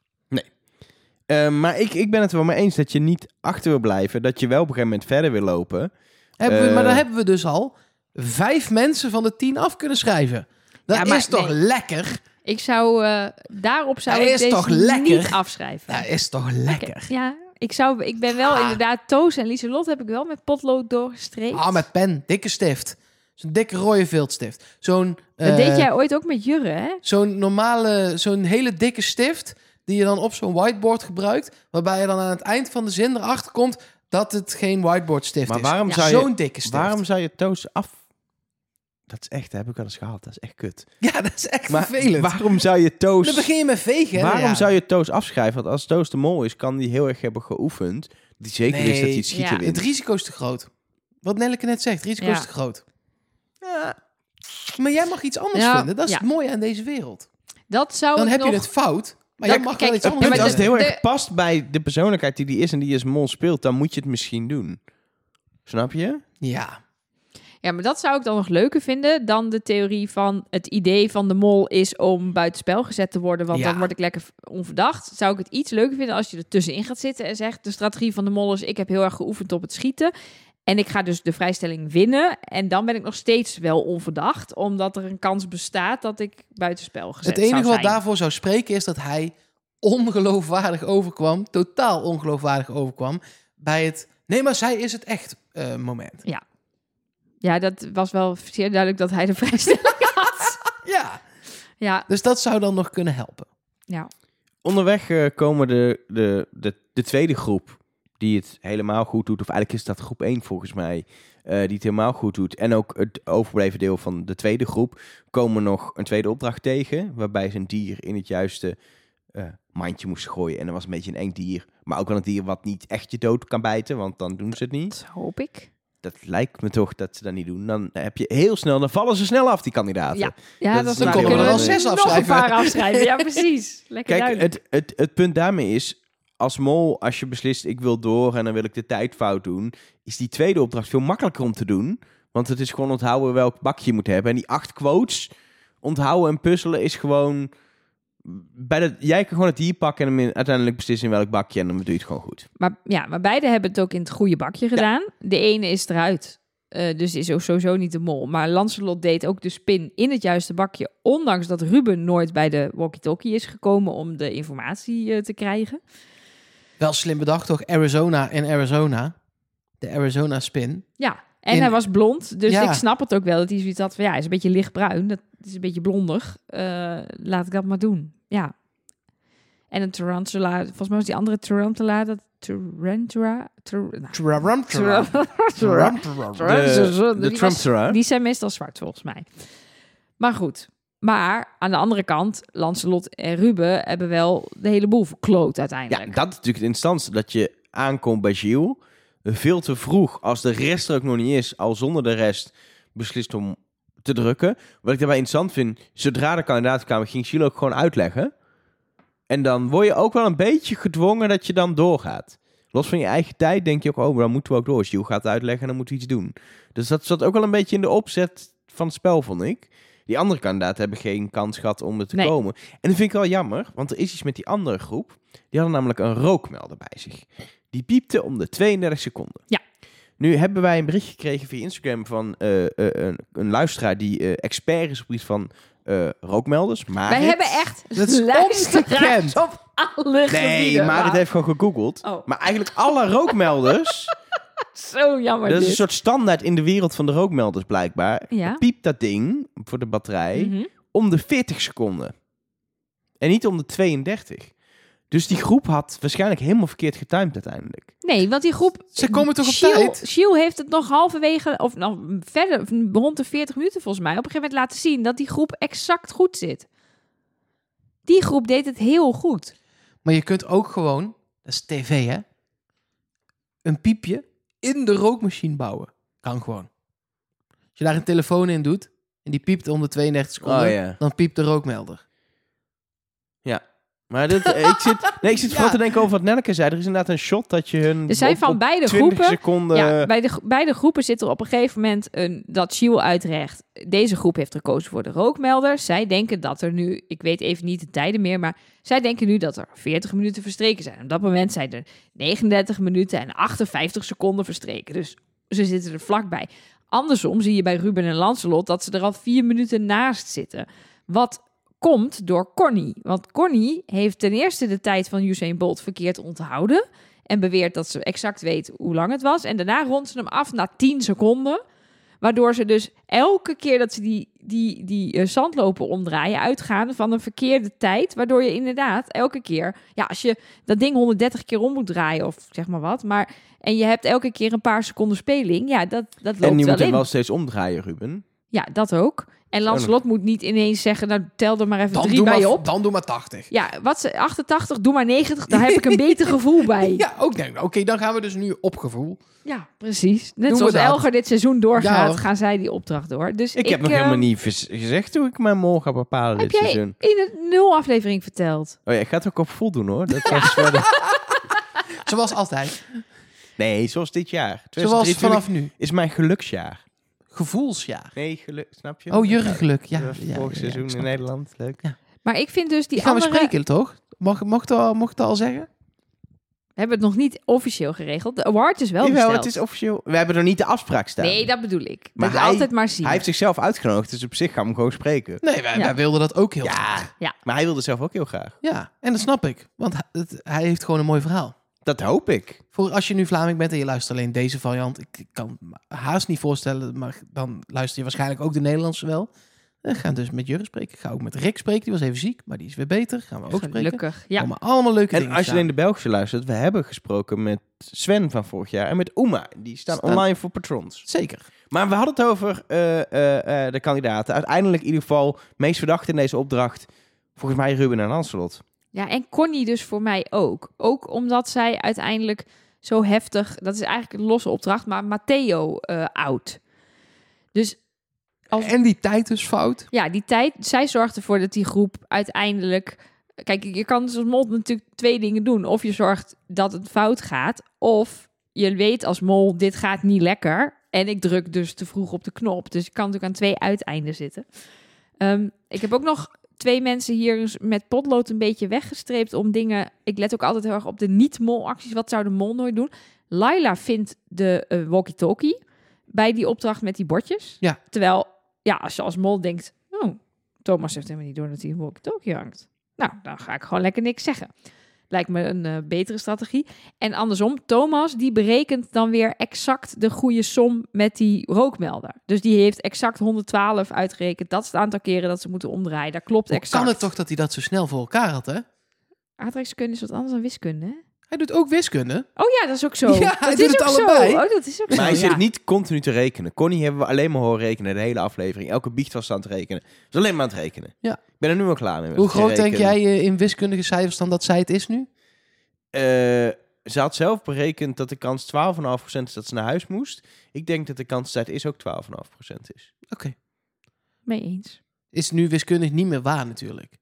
Eh, maar ik, ik ben het er wel mee eens dat je niet achter wil blijven. Dat je wel op een gegeven moment verder wil lopen. Hebben we, Eh. maar dan hebben we dus al vijf mensen van de tien af kunnen schrijven. Dat Ja, maar is toch nee. lekker? Ik zou, eh, daarop zou Hij ik is deze toch lekker? niet afschrijven. Dat is toch lekker. Ja, ik, zou, ik ben wel Ah. inderdaad... Toos en Lieselot heb ik wel met potlood doorgestreept. Ah, met pen. Dikke stift. Zo'n dikke rode viltstift. Zo'n... Dat eh, deed jij ooit ook met Jurre, hè? Zo'n normale, zo'n hele dikke stift die je dan op zo'n whiteboard gebruikt, waarbij je dan aan het eind van de zin erachter komt dat het geen whiteboard stift Maar is. waarom Ja. zou je... dus- zo'n dikke stift. Waarom zou je toos af... Dat is echt, dat heb ik wel eens gehaald. Dat is echt [laughs] kut. [laughs] Ja, dat is echt Maar vervelend. waarom zou je toos... Dan begin je met vegen. hè? Waarom Ja. zou je Toos afschrijven? Want als Toos de mol is, kan die heel erg hebben geoefend. Die zeker is dat Nee. hij het schieten Ja. Het wint. risico is te groot. Wat Nelleke net zegt, het risico Ja. is te groot. Maar jij mag iets anders Ja, vinden. Dat is ja. het mooie aan deze wereld. Dat zou Dan ik heb nog... je het fout, maar Dat- jij mag kijk, wel iets het Het anders Ja, punt, maar als vinden. het heel de- erg past bij de persoonlijkheid die die is en die als mol speelt, dan moet je het misschien doen. Snap je? Ja. Ja, maar dat zou ik dan nog leuker vinden dan de theorie van het idee van de mol is om buitenspel gezet te worden, want Ja. dan word ik lekker onverdacht. Zou ik het iets leuker vinden als je er tussenin gaat zitten en zegt de strategie van de mol is ik heb heel erg geoefend op het schieten en ik ga dus de vrijstelling winnen en dan ben ik nog steeds wel onverdacht, omdat er een kans bestaat dat ik buitenspel gezet Het enige zou wat zijn. daarvoor zou spreken is dat hij ongeloofwaardig overkwam, totaal ongeloofwaardig overkwam bij het nee, maar zij is het echt eh, moment. Ja, dat was wel zeer duidelijk dat hij de [laughs] vrijstelling had. Ja, Ja, dus dat zou dan nog kunnen helpen. ja. Onderweg eh, komen de, de, de, de tweede groep die het helemaal goed doet. Of eigenlijk is dat groep 1 volgens mij. eh, die het helemaal goed doet. En ook het overbleven deel van de tweede groep. Komen nog een tweede opdracht tegen. Waarbij ze een dier in het juiste eh, mandje moesten gooien. En dat was een beetje een eng dier. Maar ook wel een dier wat niet echt je dood kan bijten. Want dan doen ze het niet. Dat hoop ik. Dat lijkt me toch dat ze dat niet doen. Dan heb je heel snel. Dan vallen ze snel af, die kandidaten. Ja, ja Dat dat, is is Dan waar. komen er Kunnen wel we zes Nog een paar afschrijven. afschrijven, ja precies. Lekker Kijk, duidelijk. het, het, het punt daarmee is, als mol, als je beslist ik wil door en dan wil ik de tijd fout doen, is die tweede opdracht veel makkelijker om te doen. Want het is gewoon onthouden welk bakje je moet hebben. En die acht quotes, onthouden en puzzelen is gewoon... Bij dat, jij kan gewoon het hier pakken en hem in- uiteindelijk beslissen in welk bakje en dan doe je het gewoon goed. Maar, ja, maar beide hebben het ook in het goede bakje gedaan. De ene is eruit, eh, dus is ook sowieso niet de mol. Maar Lancelot deed ook de spin in het juiste bakje. Ondanks dat Ruben nooit bij de walkie-talkie is gekomen om de informatie eh, te krijgen. Wel slim bedacht toch Arizona in Arizona. De Arizona spin. Ja, en In- hij was blond, dus Ja. ik snap het ook wel dat hij zoiets had van... ja, hij is een beetje lichtbruin, dat is een beetje blondig. Eh, laat ik dat maar doen, ja. En een tarantula, volgens mij was die andere tarantula... dat tarantula... tar- nou, Traram, traram, tarantula. traram, traram. Trump, zo, zo, De, de die was- Trumpster, hè? Die zijn meestal zwart, volgens mij. Maar goed. Maar aan de andere kant, Lancelot en Ruben hebben wel de hele boel verkloot Ja, uiteindelijk. dat is natuurlijk het instantie dat je aankomt bij Gilles. Veel te vroeg, als de rest er ook nog niet is, al zonder de rest beslist om te drukken. Wat ik daarbij interessant vind, zodra de kandidaten kwamen, ging Gilles ook gewoon uitleggen. En dan word je ook wel een beetje gedwongen dat je dan doorgaat. Los van je eigen tijd denk je ook, oh, maar dan moeten we ook door. Gilles gaat uitleggen en dan moeten we iets doen. Dus dat zat ook wel een beetje in de opzet van het spel, vond ik. Die andere kandidaten hebben geen kans gehad om er te Nee. komen. En dat vind ik wel jammer, want er is iets met die andere groep. Die hadden namelijk een rookmelder bij zich. Die piepte om de 32 seconden. Ja. Nu hebben wij een bericht gekregen via Instagram van eh, eh, een, een luisteraar die eh, expert is op iets van eh, rookmelders. Maar Wij hebben echt dat is luisteraars ongekend. op Nee, alle gebieden. maar Wauw, dit heeft gewoon gegoogeld. Oh. Maar eigenlijk alle [laughs] rookmelders. Zo jammer dat is dit. een soort standaard in de wereld van de rookmelders blijkbaar. Ja. Dan Piept dat ding voor de batterij Mhm. om de 40 seconden. En niet om de 32. Dus die groep had waarschijnlijk helemaal verkeerd getimed uiteindelijk. Nee, want die groep... Ze komen toch op Shiel- tijd? Shiel heeft het nog halverwege, of nou, verder, rond de 40 minuten volgens mij, op een gegeven moment laten zien dat die groep exact goed zit. Die groep deed het heel goed. Maar je kunt ook gewoon, dat is tv hè, een piepje in de rookmachine bouwen. Kan gewoon. Als je daar een telefoon in doet en die piept om de 32 seconden, Oh, ja. dan piept de rookmelder. Maar [laughs] dit, eh, ik zit, nee, ik zit vooral Ja. te denken over wat Nelke zei. Er is inderdaad een shot dat je hun... Er zijn op- van op beide 20 groepen. seconden... Ja, bij de, gro- beide groepen zit er op een gegeven moment een, dat Shiel uitrecht. Deze groep heeft gekozen voor de rookmelder. Zij denken dat er nu, ik weet even niet de tijden meer, maar zij denken nu dat er 40 minuten verstreken zijn. Op dat moment zijn er 39 minuten en 58 seconden verstreken. Dus ze zitten er vlakbij. Andersom zie je bij Ruben en Lancelot dat ze er al vier minuten naast zitten. Wat komt door Connie. Want Connie heeft ten eerste de tijd van Usain Bolt verkeerd onthouden. En beweert dat ze exact weet hoe lang het was. En daarna rondt ze hem af na 10 seconden. Waardoor ze dus elke keer dat ze die, die, die eh, zandlopen omdraaien, uitgaan van een verkeerde tijd. Waardoor je inderdaad elke keer, ja, als je dat ding 130 keer om moet draaien of zeg maar wat. Maar, en je hebt elke keer een paar seconden speling. Ja, dat, dat loopt En die wel moet in. hem wel steeds omdraaien, Ruben. Ja, dat ook. En Lancelot moet niet ineens zeggen, nou tel er maar even Dan drie doe, bij je maar, op. dan doe maar 80. Ja, wat ze, 88, doe maar 90, daar heb ik een beter gevoel [laughs] bij. Ja, Ja, ook denk ik. Oké, dan gaan we dus nu op gevoel. precies. Net Doen we zoals dat. Elger dit seizoen Ja, doorgaat, hoor. gaan zij die opdracht door. Dus Ik, ik, heb nog eh, helemaal niet vers- gezegd hoe ik mijn mol ga bepalen Heb dit jij seizoen. in een nul aflevering verteld? Oh ja, ik ga het ook op vol doen hoor. [laughs] Dat was verder. Zoals altijd. Nee, zoals dit jaar. Zoals 2023 vanaf nu. is mijn geluksjaar. Gevoelsjaar. Nee, geluk, snap je? Oh, jurgengeluk. Ja, ja, Ja, ja, vorig ja, seizoen ik snap in het. Nederland. Leuk. Maar ik vind dus die Die gaan we andere... spreken, toch? Mag, mag, ik dat al, mag ik dat al zeggen? We hebben het nog niet officieel geregeld. De award is wel Jawel, besteld. het is officieel. We hebben er niet de afspraak staan. Nee, dat bedoel ik. Maar dat is hij- altijd maar zien. Hij heeft zichzelf uitgenodigd, dus op zich gaan we hem gewoon spreken. Nee, wij, Ja. wij wilden dat ook heel Ja, graag. maar hij wilde zelf ook heel graag. Ja, en dat snap ik. Want hij, het- hij heeft gewoon een mooi verhaal. Dat hoop ik. Voor als je nu Vlaming bent en je luistert alleen deze variant. Ik ik kan me haast niet voorstellen, maar dan luister je waarschijnlijk ook de Nederlandse wel. We gaan dus met Jurgen spreken. Ik ga ook met Rick spreken. Die was even ziek, maar die is weer beter. Gaan we ook spreken. Gelukkig, ja. Oh, Komen allemaal leuke En dingen als je alleen samen. de Belgische luistert, we hebben gesproken met Sven van vorig jaar en met Uma. Die staan Staan- online voor patrons. Zeker. Maar we hadden het over eh, eh, eh, de kandidaten. Uiteindelijk in ieder geval meest verdacht in deze opdracht. Volgens mij Ruben en Lancelot. Ja, en Connie dus voor mij ook. Ook omdat zij uiteindelijk zo heftig... Dat is eigenlijk een losse opdracht, maar Matteo eh out. Dus Als- En die tijd is fout. ja, die tijd... Zij zorgt ervoor dat die groep uiteindelijk... Kijk, je kan dus als mol natuurlijk twee dingen doen. Of je zorgt dat het fout gaat. Of je weet als mol, dit gaat niet lekker. En ik druk dus te vroeg op de knop. Dus ik kan natuurlijk aan twee uiteinden zitten. Ehm, ik heb ook nog twee mensen hier eens met potlood een beetje weggestreept om dingen... Ik let ook altijd heel erg op de niet-mol-acties. Wat zou de mol nooit doen? Laila vindt de eh, walkie-talkie bij die opdracht met die bordjes. Ja. Terwijl, ja, als je als mol denkt... Oh, Thomas heeft helemaal niet door dat hij een walkie-talkie hangt. Nou, dan ga ik gewoon lekker niks zeggen. Lijkt me een eh, betere strategie. En andersom, Thomas die berekent dan weer exact de goede som met die rookmelder. Dus die heeft exact 112 uitgerekend. Dat is het aantal keren dat ze moeten omdraaien. Dat klopt Hoe exact. kan het toch dat hij dat zo snel voor elkaar had, hè? Aardrijkskunde is wat anders dan wiskunde. hè? Hij doet ook wiskunde. Oh ja, dat is ook zo. Ja, dat hij is doet het ook zo. allebei. Oh, dat is ook zo. Maar hij ja. zit niet continu te rekenen. Connie hebben we alleen maar horen rekenen de hele aflevering. Elke biecht was ze aan het rekenen. Ze is alleen maar aan het rekenen. Ja. Ik ben er nu wel klaar mee. met Hoe het groot denk rekenen. jij eh, in wiskundige cijfers dan dat zij het is nu? Eh, ze had zelf berekend dat de kans 12,5% is dat ze naar huis moest. Ik denk dat de kans dat het is ook 12,5% is. Oké. Mee eens. Is nu wiskundig niet meer waar natuurlijk.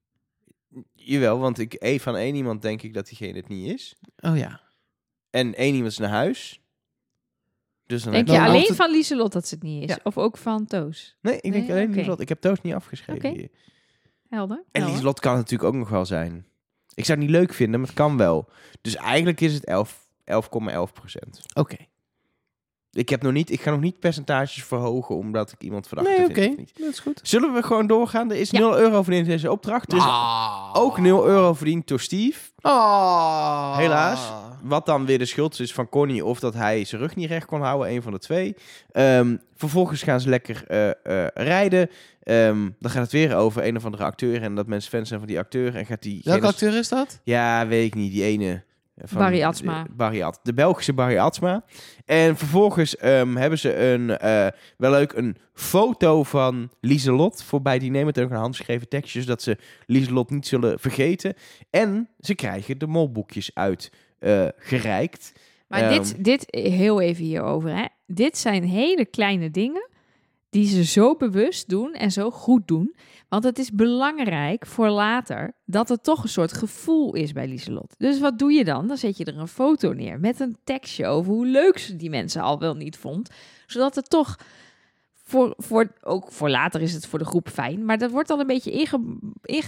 Jawel, want ik, eh, van één iemand denk ik dat diegene het niet is. Oh ja. En één iemand is naar huis. Dus dan Denk heb ik- je Dan had alleen het- van Lieselot dat ze het niet is? Ja. Of ook van Toos? Nee, ik denk Nee, alleen oké. Lieslot. Ik heb Toos niet afgeschreven Oké. hier. Helder. En Helder. Lieslot kan het natuurlijk ook nog wel zijn. Ik zou het niet leuk vinden, maar het kan wel. Dus eigenlijk is het 11 11,11 procent. Oké. Ik, heb nog niet, ik ga nog niet percentages verhogen omdat ik iemand verdacht Nee, vind. oké. of niet. Dat is goed. Zullen we gewoon doorgaan? Er is Ja. 0 euro verdiend in deze opdracht. Dus Ah. ook 0 euro verdiend door Steve. Ah. Helaas. Wat dan weer de schuld is van Connie of dat hij zijn rug niet recht kon houden, een van de twee. Ehm, vervolgens gaan ze lekker eh, eh, rijden. Ehm, dan gaat het weer over een of andere acteur en dat mensen fans zijn van die acteur. En gaat die Welke acteur is dat? Ja, weet ik niet. Die ene. eh, Van Barry Atsma. De, Barry At- de Belgische Barry Atsma. En vervolgens ehm, hebben ze een, eh, wel leuk een foto van Lieselot voorbij. Die nemen het ook een handgeschreven tekstje, zodat ze Lieselot niet zullen vergeten. En ze krijgen de molboekjes uit eh, gereikt. Maar Ehm. dit, dit, heel even hierover. Hè. Dit zijn hele kleine dingen die ze zo bewust doen en zo goed doen. Want het is belangrijk voor later dat er toch een soort gevoel is bij Lieselot. Dus wat doe je dan? Dan zet je er een foto neer met een tekstje over hoe leuk ze die mensen al wel niet vond. Zodat het toch voor, voor, ook voor later is het voor de groep fijn. Maar dat wordt al een beetje inge,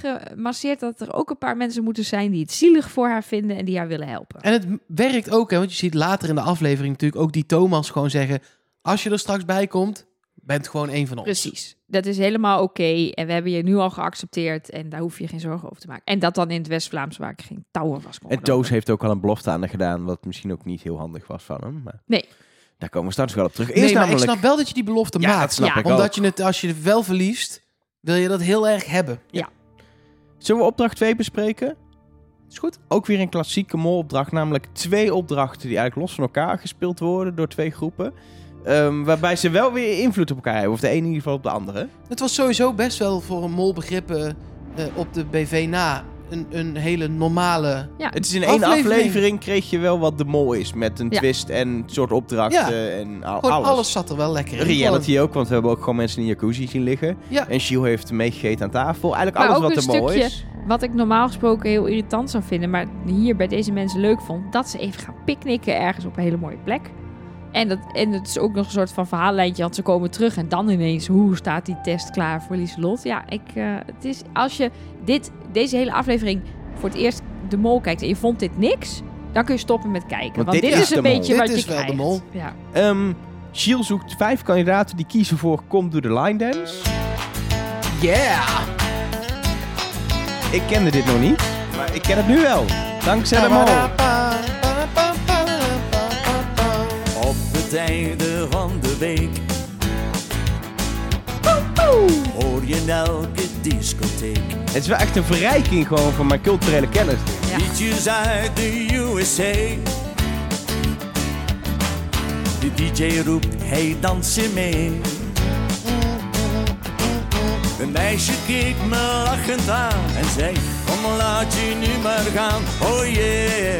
ingemasseerd dat er ook een paar mensen moeten zijn die het zielig voor haar vinden en die haar willen helpen. En het m- werkt ook, hè, want je ziet later in de aflevering natuurlijk ook die Thomas gewoon zeggen... Als je er straks bij komt, bent gewoon één van ons. Precies. Dat is helemaal oké. En we hebben je nu al geaccepteerd. En daar hoef je geen zorgen over te maken. En dat dan in het West-Vlaams, waar ik geen touwen was. kon Oh, En Toos heeft ook al een belofte aan haar gedaan, wat misschien ook niet heel handig was van hem. Maar Nee. Daar komen we straks wel op terug. Eerst Nee, maar namelijk... ik snap wel dat je die belofte ja, dat maakt. snap Ja, ik Omdat ook. je het, als je het wel verliest, wil je dat heel erg hebben. Zullen we opdracht 2 bespreken? Is goed? Ook weer een klassieke molopdracht, namelijk twee opdrachten die eigenlijk los van elkaar gespeeld worden door twee groepen. Ehm, waarbij ze wel weer invloed op elkaar hebben, of de ene in ieder geval op de andere. Het was sowieso best wel voor een molbegrip eh, eh, op de BV na een, een hele normale... Het is in één Aflevering. aflevering kreeg je wel wat de mol is, met een Ja. twist en soort opdrachten Ja. en al- Gewoon alles. alles. zat er wel lekker in. Reality ook, want we hebben ook gewoon mensen in een jacuzzi zien liggen. Ja. En Shiel heeft meegegeten aan tafel. Eigenlijk Maar alles ook wat een er mooi stukje- is. Wat ik normaal gesproken heel irritant zou vinden, maar hier bij deze mensen leuk vond, dat ze even gaan picknicken ergens op een hele mooie plek. En, dat, en het is ook nog een soort van verhaallijntje, want ze komen terug en dan ineens, hoe staat die test klaar voor Lieselot? Ja, ik, eh, het is, als je dit, deze hele aflevering voor het eerst de mol kijkt en je vond dit niks, dan kun je stoppen met kijken. Want, dit, is, de een mol. beetje Dit wat je is wel de krijgt. mol. Ja. Ehm Shiel zoekt vijf kandidaten die kiezen voor Kom Doe de Line Dance. Yeah! Ik kende dit nog niet, maar ik ken het nu wel. Dankzij de mol. Op het einde van de week hoor je in elke discotheek Het is wel echt een verrijking gewoon van mijn culturele kennis. Ja. liedjes uit de USA. De DJ roept, hey dansen mee. Een meisje keek me lachend aan en zei, kom laat je nu maar gaan, oh yeah.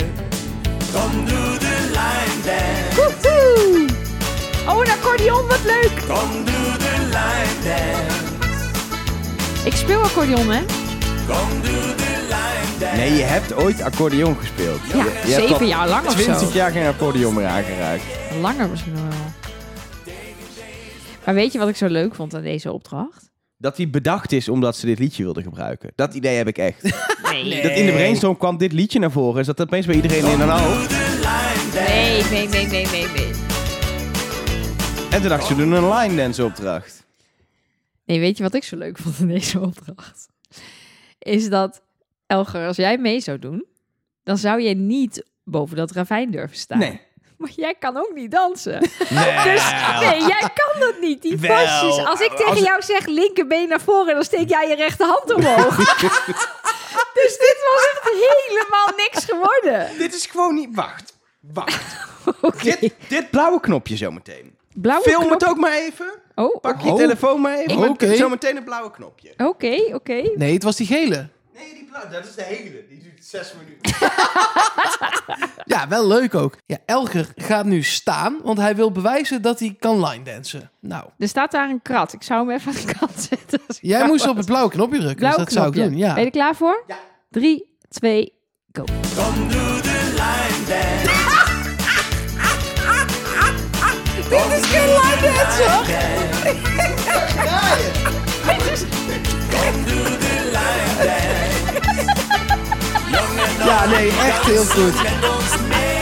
Kom doe de line dance. Woehoe! Oh, een accordeon, wat leuk! Kom doe de line dance. Ik speel accordeon, hè? Kom doe de line dance. Nee, je hebt ooit accordeon gespeeld. Ja, je hebt al zeven jaar lang of zo. 20 jaar geen accordeon meer aangeraakt. Langer misschien nog wel. Maar weet je wat ik zo leuk vond aan deze opdracht? Dat die bedacht is omdat ze dit liedje wilden gebruiken. Dat idee heb ik echt. Nee. Nee, Dat in de brainstorm kwam dit liedje naar voren. Is dat opeens bij iedereen in een hoofd? nee, nee, nee, nee, nee. Nee, En toen dacht ze, we doen een line dance opdracht. weet je wat ik zo leuk vond aan deze opdracht? Is dat, Elger, als jij mee zou doen, dan zou je niet boven dat ravijn durven staan. Maar jij kan ook niet dansen. [laughs] Dus nee, jij kan dat niet. Die Wel. pasjes. Als ik tegen Als- jou zeg linkerbeen naar voren, dan steek jij je rechterhand omhoog. dus dit was echt helemaal niks geworden. Dit is gewoon niet... Wacht, wacht. Oké. dit, dit blauwe knopje zometeen. Blauwe Film knop. het ook maar even. Oh, oké. Pak je telefoon maar even. Ik- Oké. Zometeen het blauwe knopje. Oké, oké. Nee, het was die gele. Nee, die blauwe, dat is de hele. Die duurt zes minuten. Ja, wel leuk ook. Ja, Elger gaat nu staan, want hij wil bewijzen dat hij kan line dansen. Nou, Er staat daar een krat. Ik zou hem even aan de kant zetten. als ik [laughs] jij jou moest op was. het blauwe knopje drukken, Blauw dus dat zou ik knopje. doen. Ja. Ben je er klaar voor? Ja. Drie, twee, go. Kom doe de line dance. Dit is geen line dance, hoor. Dit is- Ja, nee, echt heel goed. Met ons mee.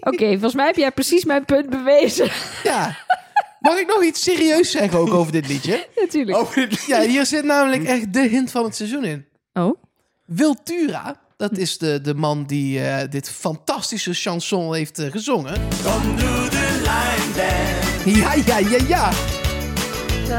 Oké, volgens mij heb jij precies mijn punt bewezen. [laughs] Ja. Mag ik nog iets serieus zeggen ook over dit liedje? Natuurlijk. Oh. Ja, hier zit namelijk echt de hint van het seizoen in. Oh. Wiltura, dat is de, de man die eh, dit fantastische chanson heeft eh, gezongen. Kom doe de line dance. Ja, ja, ja, ja. Zo,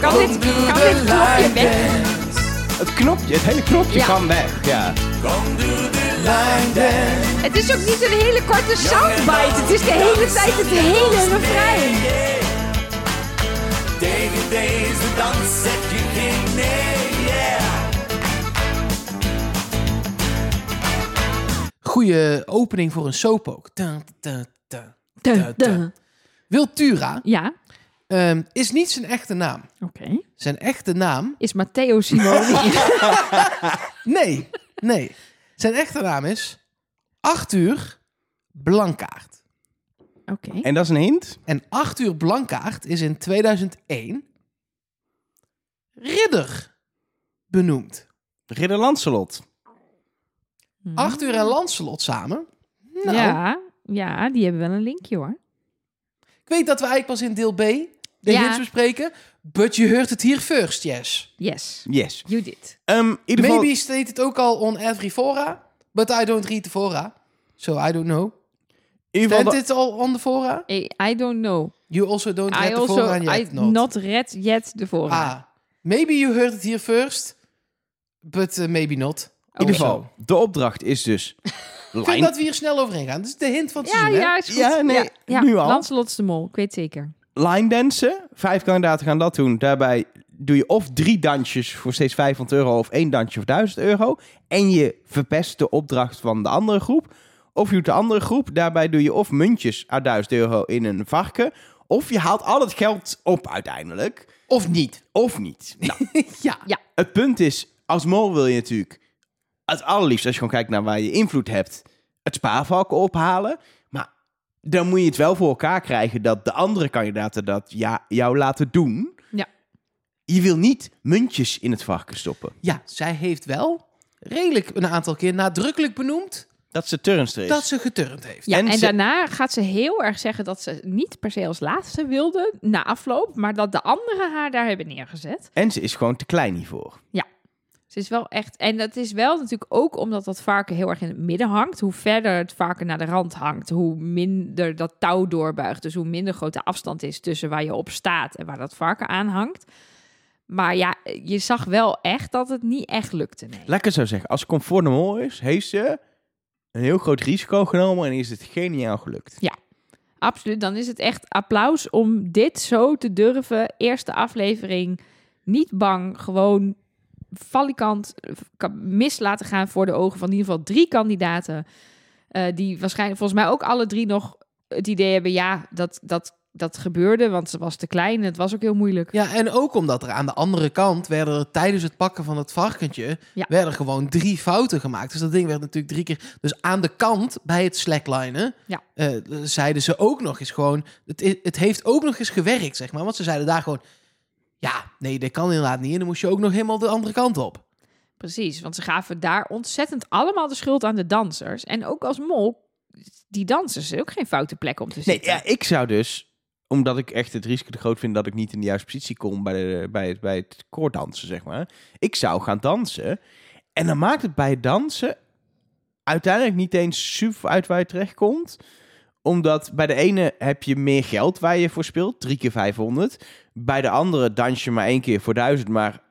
kan dit, kan dit knopje line weg? dance. Het knopje, het hele knopje Ja. kan weg. Ja. Kom doe de line dance. Het is ook niet een hele korte soundbite. Het is de hele tijd het hele refrein. Tegen deze dans zet je geen nee, yeah. Goeie opening voor een soap ook. Dun, dun, dun. Duh, duh. Wiltura Ja, ehm, is niet zijn echte naam. oké. Zijn echte naam? Is Matteo Simoni. Nee, nee. Zijn echte naam is Arthur Blankaart. Oké. En dat is een hint? En Arthur Blankaart is in 2001 ridder benoemd. Ridder Lancelot. Hmm. Hm. Arthur en Lancelot samen? Nou, Ja, ja, die hebben wel een linkje hoor. Ik weet dat we eigenlijk pas in deel B de Ja. hints bespreken. But you heard it here first, yes. Yes, Yes. you did. Ehm, in ieder geval, Maybe stated het ook al on every fora. But I don't read the fora. So I don't know. in ieder geval Stated de- it all on the fora? I, I don't know. You also don't read I the also fora I yet, not. not. read yet de voorraad. Ah, maybe you heard it here first. But eh, maybe not. in ieder Also. geval, de opdracht is dus... Ik vind lijn- dat we hier snel overheen gaan. Dat is de hint van het Ja, seizoen, hè? ja, is goed. Ja, nee, ja, ja. nu al. Lancelot is de mol, ik weet zeker. line dansen. Vijf kandidaten gaan dat doen. Daarbij doe je of drie dansjes voor steeds 500 euro of één dansje voor 1000 euro. En je verpest de opdracht van de andere groep. Of je doet de andere groep. Daarbij doe je of muntjes uit 1000 euro in een varken. Of je haalt al het geld op uiteindelijk. Of niet. Of niet. Nou, ja. het punt is, als mol wil je natuurlijk het allerliefst, als je gewoon kijkt naar waar je invloed hebt, het spaarvalken ophalen. Maar dan moet je het wel voor elkaar krijgen dat de andere kandidaten dat ja, jou laten doen. Ja. Je wil niet muntjes in het varken stoppen. Ja, zij heeft wel redelijk een aantal keer nadrukkelijk benoemd Dat is de turnster is. dat ze geturnd heeft. Ja, En en, ze- daarna gaat ze heel erg zeggen dat ze niet per se als laatste wilde na afloop, maar dat de anderen haar daar hebben neergezet. En ze is gewoon te klein hiervoor. Ze is wel echt. En dat is wel natuurlijk ook omdat dat varken heel erg in het midden hangt. Hoe verder het varken naar de rand hangt, hoe minder dat touw doorbuigt. Dus hoe minder grote afstand is tussen waar je op staat en waar dat varken aan hangt. Maar ja, je zag wel echt dat het niet echt lukte. Nee. Laat ik het zo zeggen, als comfort de mol is, heeft ze een heel groot risico genomen en is het geniaal gelukt. Absoluut, dan is het echt applaus om dit zo te durven. Eerste aflevering, niet bang, gewoon valikant eh, ka- mis laten gaan voor de ogen van in ieder geval drie kandidaten. eh, die waarschijnlijk volgens mij ook alle drie nog het idee hebben, ja, dat, dat, dat gebeurde, want ze was te klein en het was ook heel moeilijk. Ja, en ook omdat er aan de andere kant werden er tijdens het pakken van het varkentje Ja. werden er gewoon drie fouten gemaakt. Dus dat ding werd natuurlijk drie keer. Dus aan de kant bij het slacklinen Ja. eh, zeiden ze ook nog eens gewoon. Het, i- het heeft ook nog eens gewerkt, zeg maar. Want ze zeiden daar gewoon. Ja, nee, dat kan inderdaad niet. En dan moest je ook nog helemaal de andere kant op. Precies, want ze gaven daar ontzettend allemaal de schuld aan de dansers. En ook als mol, die dansers, is ook geen foute plek om te Nee, zitten. ja, ik zou dus, omdat ik echt het risico te groot vind dat ik niet in de juiste positie kom bij, de, bij, het, bij het koordansen, zeg maar. Ik zou gaan dansen. En dan maakt het bij het dansen uiteindelijk niet eens super uit waar je terechtkomt. Omdat bij de ene heb je meer geld waar je voor speelt, drie keer 500. Bij de andere dans je maar één keer voor 1000, maar...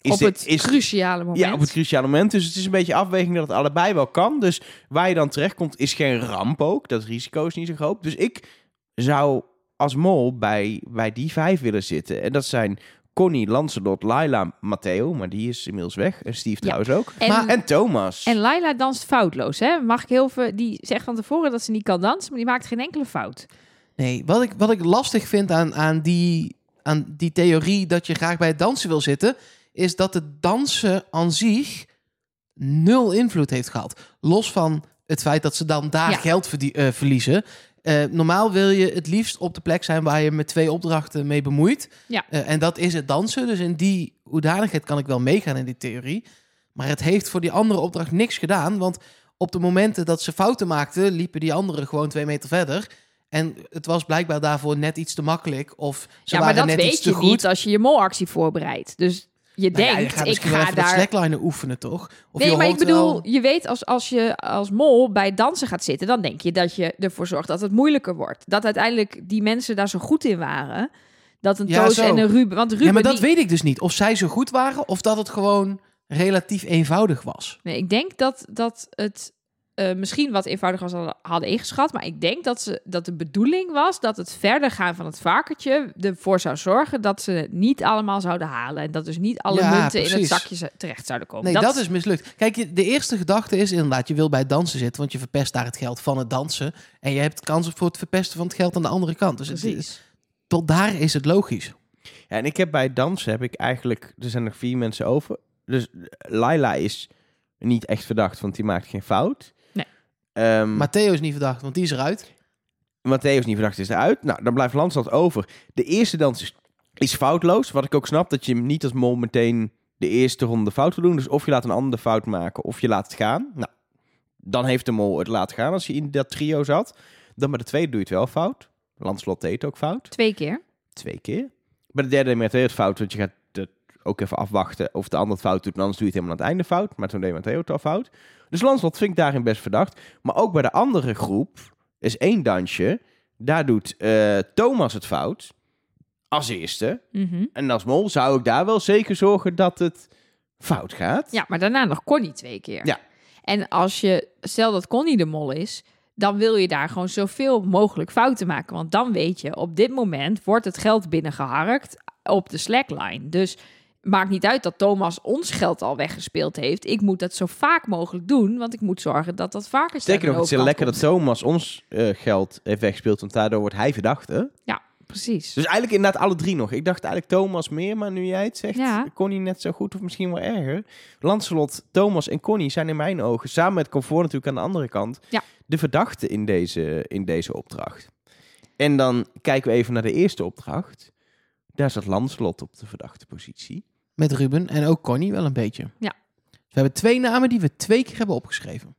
Is op de- het is, cruciale moment. ja, op het cruciale moment. Dus het is een beetje afweging dat het allebei wel kan. Dus waar je dan terechtkomt is geen ramp ook. Dat risico is niet zo groot. Dus ik zou als mol bij, bij die vijf willen zitten. En dat zijn Connie, Lancelot, Laila, Matteo. Maar die is inmiddels weg. En Steve Ja. trouwens ook. En- Maar- En Thomas. En Laila danst foutloos, hè? Mag ik heel veel... Die zegt van tevoren dat ze niet kan dansen, maar die maakt geen enkele fout. Nee, wat ik, wat ik lastig vind aan, aan, die, aan die theorie dat je graag bij het dansen wil zitten, is dat het dansen aan zich nul invloed heeft gehad. Los van het feit dat ze dan daar Ja. geld verdie- eh, verliezen. Eh, normaal wil je het liefst op de plek zijn waar je met twee opdrachten mee bemoeit. Ja. Eh, en dat is het dansen. Dus in die hoedanigheid kan ik wel meegaan in die theorie. Maar het heeft voor die andere opdracht niks gedaan. Want op de momenten dat ze fouten maakten, liepen die anderen gewoon twee meter verder. En het was blijkbaar daarvoor net iets te makkelijk. Of ze ja, maar waren dat net iets weet te je goed. niet als je je molactie voorbereidt. Dus je Nou ja, je denkt, gaat ik misschien wel ga even dat daar... slacklinen oefenen, toch? Of Nee, je maar ik hoort er bedoel, wel- je weet als, als je als mol bij dansen gaat zitten... dan denk je dat je ervoor zorgt dat het moeilijker wordt. Dat uiteindelijk die mensen daar zo goed in waren... dat een Ja, Toos zo. en een Ruben... Want Ruben Ja, maar dat die- weet ik dus niet. Of zij zo goed waren, of dat het gewoon relatief eenvoudig was. Nee, ik denk dat, dat het eh, misschien wat eenvoudiger was dan we hadden ingeschat. Maar ik denk dat, ze, dat de bedoeling was dat het verder gaan van het varkentje ervoor zou zorgen dat ze het niet allemaal zouden halen. En dat dus niet alle Ja, munten in het precies. zakje ze- terecht zouden komen. Nee, dat, is mislukt. Kijk, je- de eerste gedachte is inderdaad, je wil bij het dansen zitten, want je verpest daar het geld van het dansen. En je hebt kans voor het verpesten van het geld aan de andere kant. Dus het, is- precies. tot daar is het logisch. Ja, en ik heb bij het dansen heb ik eigenlijk... Er zijn nog vier mensen over. Dus Laila is niet echt verdacht, want die maakt geen fout. Nee. Ehm, Matteo is niet verdacht, want die is eruit. Matthäus niet verdacht is eruit. Nou, dan blijft Landstad over. De eerste dans is, is foutloos. Wat ik ook snap, dat je hem niet als mol meteen de eerste ronde fout wil doen. Dus of je laat een ander fout maken, of je laat het gaan. Nou, dan heeft de mol het laten gaan als je in dat trio zat. Dan bij de tweede doe je het wel fout. Lanslot deed ook fout. Twee keer. Twee keer. Bij de derde deed het fout, want je gaat het ook even afwachten of de ander het fout doet. En anders doe je het helemaal aan het einde fout. Maar toen deed Matteo het al fout. Dus Lanslot vind ik daarin best verdacht. Maar ook bij de andere groep is één dansje. Daar doet eh, Thomas het fout. Als eerste. Mhm. En als mol zou ik daar wel zeker zorgen dat het fout gaat. Ja, maar daarna nog Connie twee keer. Ja. En als je, stel dat Connie de mol is, dan wil je daar gewoon zoveel mogelijk fouten maken. Want dan weet je, op dit moment wordt het geld binnengeharkt op de slackline. Dus maakt niet uit dat Thomas ons geld al weggespeeld heeft. Ik moet dat zo vaak mogelijk doen, want ik moet zorgen dat dat vaker staat. Zeker nog, het is heel lekker dat Thomas ons eh, geld heeft weggespeeld, want daardoor wordt hij verdachte. Precies. Dus eigenlijk inderdaad alle drie nog. Ik dacht eigenlijk Thomas meer, maar nu jij het zegt, Ja. Connie net zo goed of misschien wel erger. Lancelot, Thomas en Connie zijn in mijn ogen, samen met Comfort natuurlijk aan de andere kant, Ja. de verdachten in deze, in deze opdracht. En dan kijken we even naar de eerste opdracht. Daar zat Lancelot op de verdachte positie. Met Ruben en ook Connie wel een beetje. Dus Ja. We hebben twee namen die we twee keer hebben opgeschreven.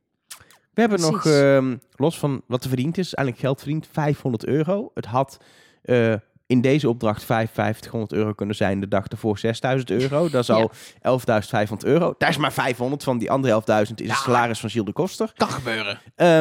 We hebben Precies. nog, ehm, los van wat er verdiend is, eigenlijk geld verdiend, 500 euro. Het had eh, in deze opdracht 500 euro kunnen zijn, de dag ervoor 6000 euro. Dat is al 11.500 euro. Daar is maar 500 van, die andere 11.000 is het salaris van Gilles de Koster. Kan gebeuren. Ehm,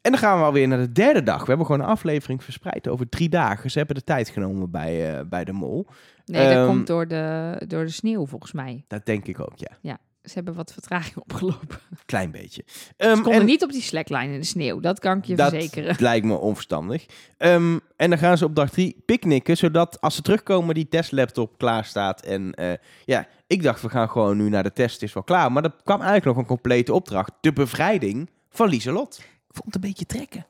en dan gaan we alweer naar de derde dag. We hebben gewoon een aflevering verspreid over drie dagen. Ze hebben de tijd genomen bij, eh, bij de mol. Nee, dat Ehm, komt door de, door de sneeuw volgens mij. Dat denk ik ook, ja. Ze hebben wat vertraging [laughs] opgelopen. Klein beetje. Ehm, Ze konden en- niet op die slackline in de sneeuw, dat kan ik je dat verzekeren. [laughs] lijkt me onverstandig. Ehm, en dan gaan ze op dag 3 picknicken, zodat als ze terugkomen die testlaptop klaar staat. En eh, ja, ik dacht we gaan gewoon nu naar de test, het is wel klaar. Maar dat kwam eigenlijk nog een complete opdracht. De bevrijding van Lieselot. Ik vond het een beetje trekken.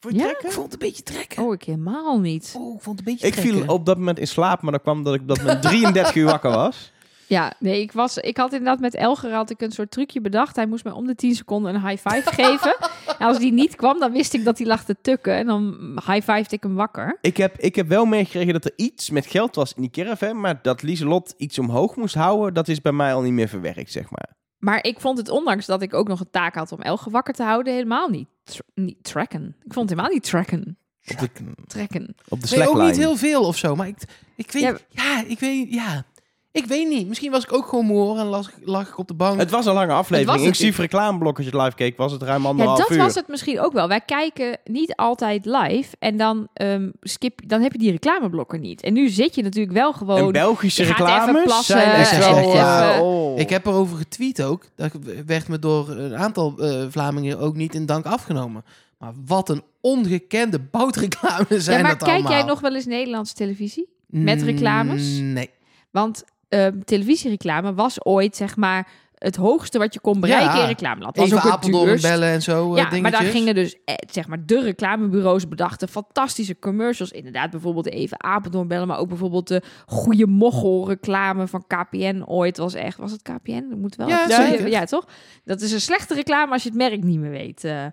Vond je Ja? het lekker? Ik vond het een beetje trekken. Oh, ik helemaal niet. Oh, ik vond het een beetje Ik viel op dat moment in slaap, maar dat kwam dat ik op dat moment 33 uur wakker was. Ja, nee, ik, was, ik had inderdaad met Elger had ik een soort trucje bedacht. Hij moest mij om de 10 seconden een high [laughs] five geven. En als die niet kwam, dan wist ik dat hij lag te tukken. En dan high five ik hem wakker. Ik heb, ik heb wel meegekregen dat er iets met geld was in die caravan, maar dat Lieselot iets omhoog moest houden, dat is bij mij al niet meer verwerkt, zeg maar. Maar ik vond het, ondanks dat ik ook nog een taak had om Elger wakker te houden, helemaal niet, tr- niet tracken. Ik vond het helemaal niet tracken. Trekken. Op de Ik weet ook slackline. niet heel veel of zo, maar ik, ik weet... Ja. Ja. ik weet... Ja. Ik weet niet. Misschien was ik ook gewoon moe hoor en las, lag ik op de bank. Het was een lange Het was aflevering. het. Inclusief reclameblok als je het live keek, was het ruim Ja, anderhalf dat uur. was het misschien ook wel. Wij kijken niet altijd live. En dan, ehm, skip, dan heb je die reclameblokken niet. En nu zit je natuurlijk wel En gewoon. Belgische je gaat even reclames plassen zijn echt en wel... even- eh, oh. Ik heb erover getweet ook. Dat werd me door een aantal eh, Vlamingen ook niet in dank afgenomen. Maar wat een ongekende boutreclame zijn Ja, maar dat kijk allemaal. jij nog wel eens Nederlandse televisie? met reclames? Mm, Nee. Want ehm, televisiereclame was ooit, zeg maar, het hoogste wat je kon bereiken Ja. in reclameland. Was Even ook het Apeldoorn duurst. bellen en zo. Ja, maar eh, daar dingetjes. gingen dus, eh, zeg maar, de reclamebureaus bedachten fantastische commercials. Inderdaad, bijvoorbeeld even Apeldoorn bellen, maar ook bijvoorbeeld de Goede Mochel reclame van KPN ooit was echt... Was het KPN? Dat moet wel. Ja, even- zeker. ja, toch? Dat is een slechte reclame als je het merk niet meer weet. eh.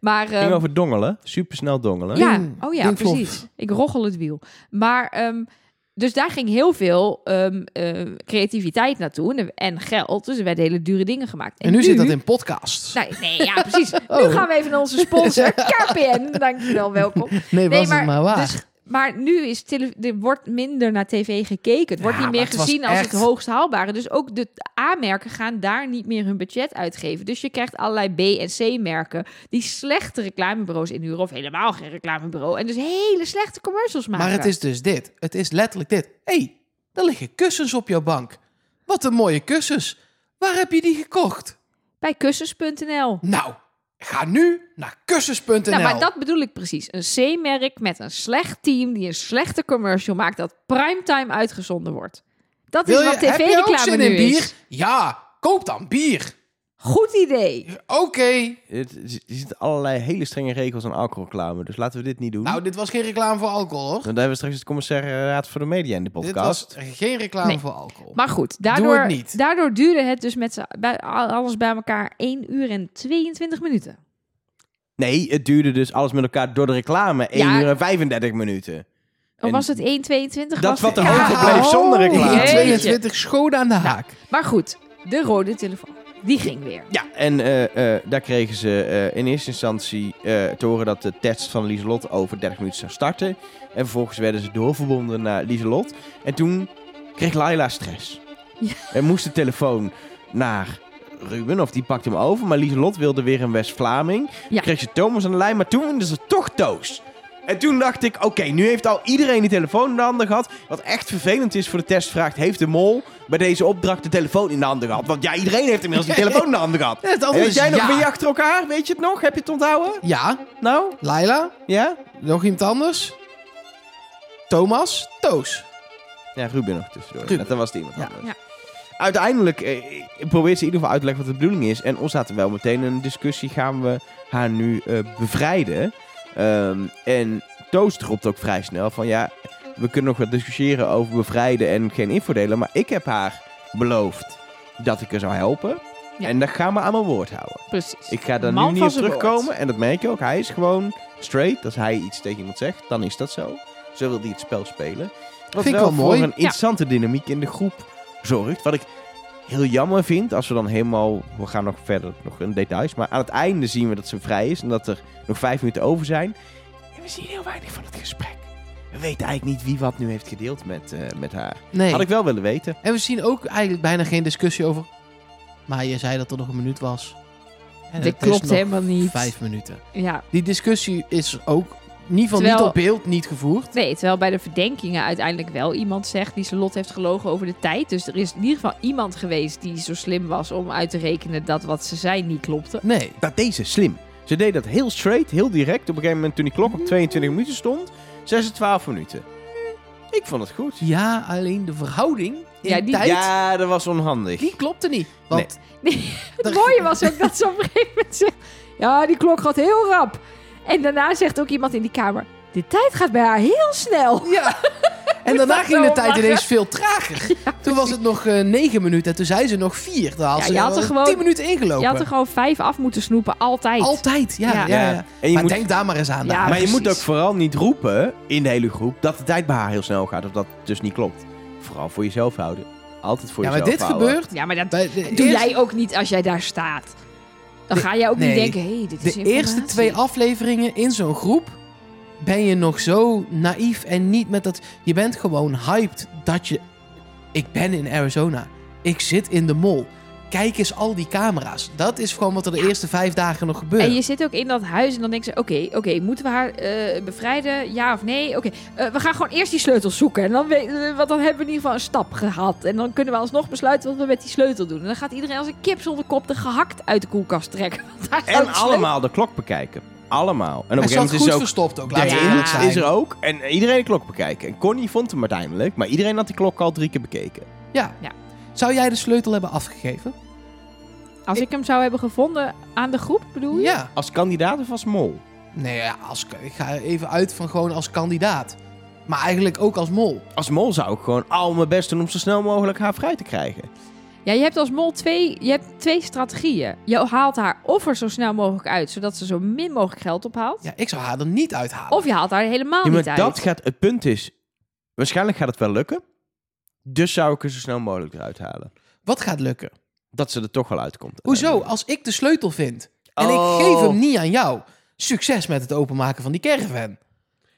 maar... Het ging ehm, over dongelen. Supersnel dongelen. ja, Ding. oh ja, Ding plof. precies. Ik roggel het wiel. Maar ehm, dus daar ging heel veel ehm, eh, creativiteit naartoe en, en geld. Dus er werden hele dure dingen gemaakt. En nu zit dat in podcasts. Nee, nee, ja, [laughs] precies. Nu Oh. gaan we even naar onze sponsor, [laughs] KPN. Dankjewel, welkom. nee, was nee, maar- het maar waar. dus- Maar nu is tele- er wordt minder naar tv gekeken. Het wordt Ja, niet meer maar het was gezien als echt- het hoogst haalbare. Dus ook de A-merken gaan daar niet meer hun budget uitgeven. Dus je krijgt allerlei B- en C-merken die slechte reclamebureaus inhuren. Of helemaal geen reclamebureau. En dus hele slechte commercials maken. maar het is dus dit. Het is letterlijk dit. Hé, hey, daar liggen kussens op jouw bank. Wat een mooie kussens. Waar heb je die gekocht? Bij kussens.nl. Nou, ga nu naar kussens.nl. Nou, maar dat bedoel ik precies. Een C-merk met een slecht team die een slechte commercial maakt dat primetime uitgezonden wordt. Dat is Wil je, Dus wat heb je ook tv-reclame zin nu in bier? is. Ja, koop dan bier. Goed idee. Oké. Het- Er zitten allerlei hele strenge regels aan alcoholreclame. Dus laten we dit niet doen. Nou, dit was geen reclame voor alcohol, hoor. Want dan hebben we straks het commissariaat voor de media in de Dit podcast. was geen reclame Nee. voor alcohol. Maar goed, daardoor, het niet. daardoor duurde het dus met z'n- bij, alles bij elkaar 1 uur en 22 minuten. Nee, het duurde dus alles met elkaar door de reclame. 1 Ja. uur en 35 minuten. Of En was het 1,22? dat was wat het- er Ja. Oh, overbleef zonder reclame. jeetje. 22 schoden aan de haak. Maar goed, de rode telefoon. Die ging weer. Ja, en eh, eh, daar kregen ze eh, in eerste instantie eh, te horen dat de test van Lieselot over 30 minuten zou starten. En vervolgens werden ze doorverbonden naar Lieselot. En toen kreeg Laila stress. Ja. En moest de telefoon naar Ruben, of die pakte hem over. Maar Lieselot wilde weer een West-Vlaming. Ja. Kreeg ze Thomas aan de lijn, maar toen wilden ze toch Toos. En toen dacht ik, oké, nu heeft al iedereen die telefoon in de handen gehad. Wat echt vervelend is voor de testvraag, heeft de mol bij deze opdracht de telefoon in de handen gehad? Want ja, iedereen heeft inmiddels [laughs] die telefoon in de handen gehad. Ja, het antwoord En weet is jij nog ja. ben je achter elkaar? Weet je het nog? Heb je het onthouden? Ja, Nou, Laila, ja? nog iemand anders? Thomas, Toos. Ja, Ruben nog tussendoor. Ruben. Net, Dat was het iemand Ja. anders. Ja. Uiteindelijk eh, probeert ze in ieder geval uit te leggen wat de bedoeling is. En ons staat er wel meteen een discussie. Gaan we haar nu eh, bevrijden? Ehm, en Toos roept ook vrij snel van ja, we kunnen nog wat discussiëren over bevrijden en geen infodelen. Maar ik heb haar beloofd dat ik haar zou helpen. Ja. En dat gaan we aan mijn woord houden. Precies. Ik ga daar Man nu niet van op zijn woord. terugkomen. En dat merk je ook. Hij is gewoon straight. Als hij iets tegen iemand zegt, dan is dat zo. Zo wil hij het spel spelen. Wat Vind ik wel voor mooi. een interessante dynamiek in de groep zorgt. Wat ik heel jammer vind, als we dan helemaal... We gaan nog verder, nog in details. Maar aan het einde zien we dat ze vrij is. En dat er nog vijf minuten over zijn. En we zien heel weinig van het gesprek. We weten eigenlijk niet wie wat nu heeft gedeeld met, eh, met haar. Nee. Had ik wel willen weten. En we zien ook eigenlijk bijna geen discussie over. Maar je zei dat er nog een minuut was. En Dit het is klopt nog helemaal niet. Vijf minuten. Ja. Die discussie is ook in ieder geval Terwijl- niet op beeld, niet gevoerd. Nee, terwijl bij de verdenkingen uiteindelijk wel iemand zegt die zijn lot heeft gelogen over de tijd. Dus er is in ieder geval iemand geweest die zo slim was om uit te rekenen dat wat ze zei niet klopte. Nee. dat deze slim. Ze deed dat heel straight, heel direct. Op een gegeven moment toen die klok op 22 minuten stond, 6 en 12 minuten. Ik vond het goed. Ja, alleen de verhouding in Ja, die- tijd, Ja, dat was onhandig. die klopte niet. Want [laughs] Het mooie was ook dat ze op een gegeven moment zegt, ja, die klok gaat heel rap. En daarna zegt ook iemand in die kamer, de tijd gaat bij haar heel snel. Ja. En daarna moest ging de wel tijd lachen. ineens [laughs] veel trager. toen was het nog eh, negen minuten en toen zei ze nog vier. Daar had Ja, ze je had er al gewoon- tien minuten ingelopen. Je had er gewoon vijf af moeten snoepen, altijd. Altijd, ja. Ja. ja. ja, En je maar moet, denk daar maar eens aan. Ja, Daan. maar je moet ook precies. vooral niet roepen in de hele groep dat de tijd bij haar heel snel gaat. Of dat het dus niet klopt. Vooral voor jezelf houden. Altijd voor ja, maar jezelf dit houden. gebeurt... Ja, maar dat Bij de doe eerste- jij ook niet als jij daar staat. Dan ga jij ook nee. niet denken, hé, hey, dit is Dus De informatie. eerste twee afleveringen in zo'n groep ben je nog zo naïef en niet met dat. Je bent gewoon hyped dat je. Ik ben in Arizona. Ik zit in de mol. Kijk eens al die camera's. Dat is gewoon wat er de eerste vijf dagen nog gebeurt. En je zit ook in dat huis en dan denken ze: oké, oké, moeten we haar eh, bevrijden? Ja of nee? Oké, eh, we gaan gewoon eerst die sleutels zoeken. En dan, we- eh, want dan hebben we in ieder geval een stap gehad. En dan kunnen we alsnog besluiten wat we met die sleutel doen. En dan gaat iedereen als een kip zonder kop de gehakt uit de koelkast trekken. [laughs] Want daar staat En de sleutel. allemaal de klok bekijken. Allemaal. En op Hij een gegeven zat moment goed is ook verstopt ook, de laten we Ja. eerlijk zijn. hint is er ook. En iedereen de klok bekijken. En Connie vond hem uiteindelijk. Maar iedereen had die klok al drie keer bekeken. Ja. Ja. Zou jij de sleutel hebben afgegeven? Als ik hem zou hebben gevonden aan de groep, bedoel je? Ja. Als kandidaat of als mol? Nee, ja, als, ik ga even uit van gewoon als kandidaat. Maar eigenlijk ook als mol. Als mol zou ik gewoon al mijn best doen om zo snel mogelijk haar vrij te krijgen. Ja, je hebt als mol twee, je hebt twee strategieën. Je haalt haar of er zo snel mogelijk uit, zodat ze zo min mogelijk geld ophaalt. Ja, ik zou haar er niet uithalen. Of je haalt haar helemaal Ja, maar niet uit. dat gaat, het punt is, waarschijnlijk gaat het wel lukken. Dus zou ik er zo snel mogelijk eruit halen. Wat gaat lukken? Dat ze er toch wel uitkomt. Hoezo? Ehm, Als ik de sleutel vind en Oh. ik geef hem niet aan jou. Succes met het openmaken van die caravan.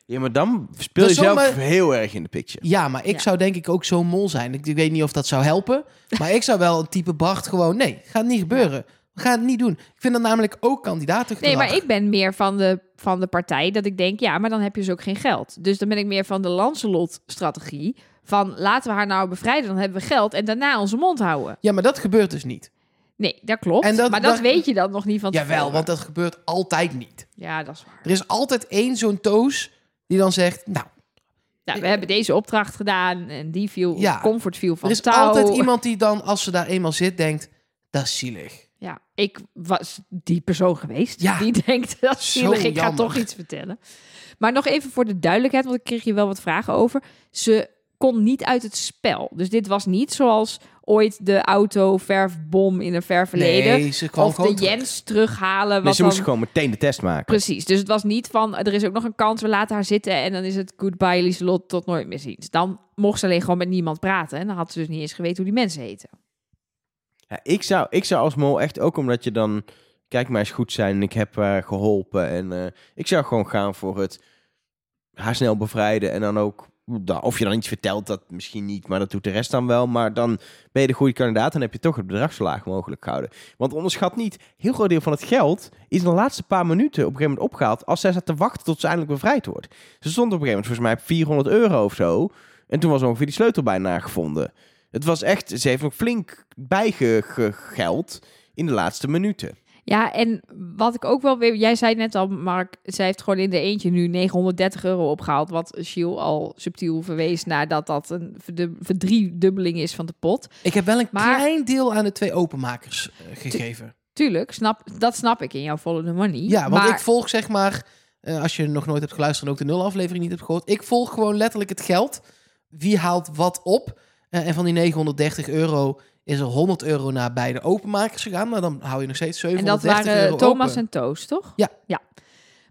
Ja, maar dan speel Dat je zelf zomaar- heel erg in de picture. Ja, maar ik Ja. zou denk ik ook zo'n mol zijn. Ik, ik weet niet of dat zou helpen. [laughs] Maar ik zou wel een type Bart gewoon... Nee, gaat niet gebeuren. We gaan het niet doen. Ik vind dat namelijk ook kandidaten Nee, maar ik ben meer van de, van de partij dat ik denk, ja, maar dan heb je dus ook geen geld. Dus dan ben ik meer van de Lancelot-strategie. Van laten we haar nou bevrijden, dan hebben we geld. En daarna onze mond houden. Ja, maar dat gebeurt dus niet. Nee, dat klopt. En dat- maar dat dat- weet je dan nog niet van tevoren. Jawel, want dat gebeurt altijd niet. Ja, dat is waar. Er is altijd één zo'n toos die dan zegt... Nou, Nou, we hebben deze opdracht gedaan en die viel, Ja. comfort viel van er is touw. altijd iemand die dan, als ze daar eenmaal zit, denkt... Dat is zielig. Ja, ik was die persoon geweest Ja. die [laughs] denkt dat is Zo zielig, ik ga jammer. toch iets vertellen. Maar nog even voor de duidelijkheid, want ik kreeg hier wel wat vragen over. Ze kon niet uit het spel. Dus dit was niet zoals ooit de auto verfbom in een ver verleden. Nee, ze kwam of de gewoon terug. Jens terughalen. Nee, Wat ze dan... moest gewoon meteen de test maken. Precies, dus het was niet van er is ook nog een kans, we laten haar zitten en dan is het goodbye Lieselot tot nooit meer ziens. Dan mocht ze alleen gewoon met niemand praten en dan had ze dus niet eens geweten hoe die mensen heten. Ja, ik, zou, ik zou als mol echt ook omdat je dan... Kijk maar eens goed zijn en ik heb eh, geholpen. En eh, ik zou gewoon gaan voor het haar snel bevrijden. En dan ook... nou, Of je dan iets vertelt, dat misschien niet, maar dat doet de rest dan wel. Maar dan ben je de goede kandidaat en heb je toch het bedrag zo laag mogelijk gehouden. Want onderschat niet, heel groot deel van het geld is in de laatste paar minuten op een gegeven moment opgehaald. Als zij zat te wachten tot ze eindelijk bevrijd wordt. Ze stond op een gegeven moment volgens mij op 400 euro of zo. En toen was ongeveer die sleutel bijna gevonden. Het was echt, ze heeft nog flink bijgegeld in de laatste minuten. Ja, en wat ik ook wel weer... Jij zei het net al, Mark, zij heeft gewoon in de eentje nu 930 euro opgehaald. Wat Shiel al subtiel verwees naar dat dat een verdub- verdriedubbeling is van de pot. Ik heb wel een Maar- klein deel aan de twee openmakers eh, gegeven. Tuurlijk, snap, dat snap ik in jouw Follow the Money. Ja, want maar ik volg zeg maar, eh, als je nog nooit hebt geluisterd en ook de nul aflevering niet hebt gehoord, ik volg gewoon letterlijk het geld. Wie haalt wat op? Eh, en van die 930 euro is er 100 euro naar beide openmakers gegaan, maar dan hou je nog steeds En dat 730 euro waren Thomas open. en Toos, toch? Ja. ja.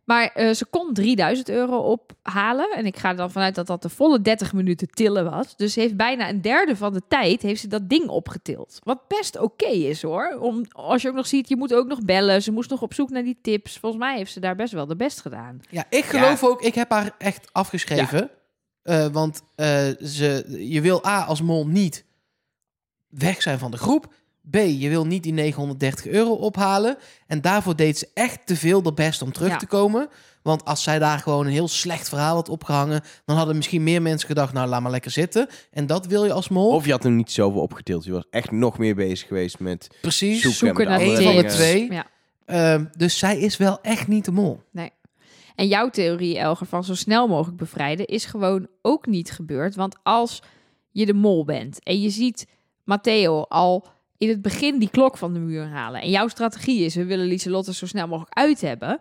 Maar eh, ze kon 3000 euro ophalen. En ik ga er dan vanuit dat dat de volle 30 minuten tillen was. Dus ze heeft bijna een derde van de tijd heeft ze dat ding opgetild. Wat best oké is hoor. Om, als je ook nog ziet, je moet ook nog bellen. Ze moest nog op zoek naar die tips. Volgens mij heeft ze daar best wel de best gedaan. Ja, ik geloof ook, ik heb haar echt afgeschreven. Eh, want eh, ze, je wil A, als mol niet weg zijn van de groep. B, je wil niet die 930 euro ophalen. En daarvoor deed ze echt te veel de best om terug Ja. te komen. Want als zij daar gewoon een heel slecht verhaal had opgehangen... dan hadden misschien meer mensen gedacht, nou, laat maar lekker zitten. En dat wil je als mol. Of je had hem niet zoveel opgetild. Je was echt nog meer bezig geweest met... Precies. zoeken. Zoeken met naar andere tips. dingen. Twee. Ja. Eh, dus zij is wel echt niet de mol. En jouw theorie, Elger, van zo snel mogelijk bevrijden, is gewoon ook niet gebeurd. Want als je de mol bent en je ziet Matteo al in het begin die klok van de muur halen. En jouw strategie is, we willen Lieselotte zo snel mogelijk uit hebben.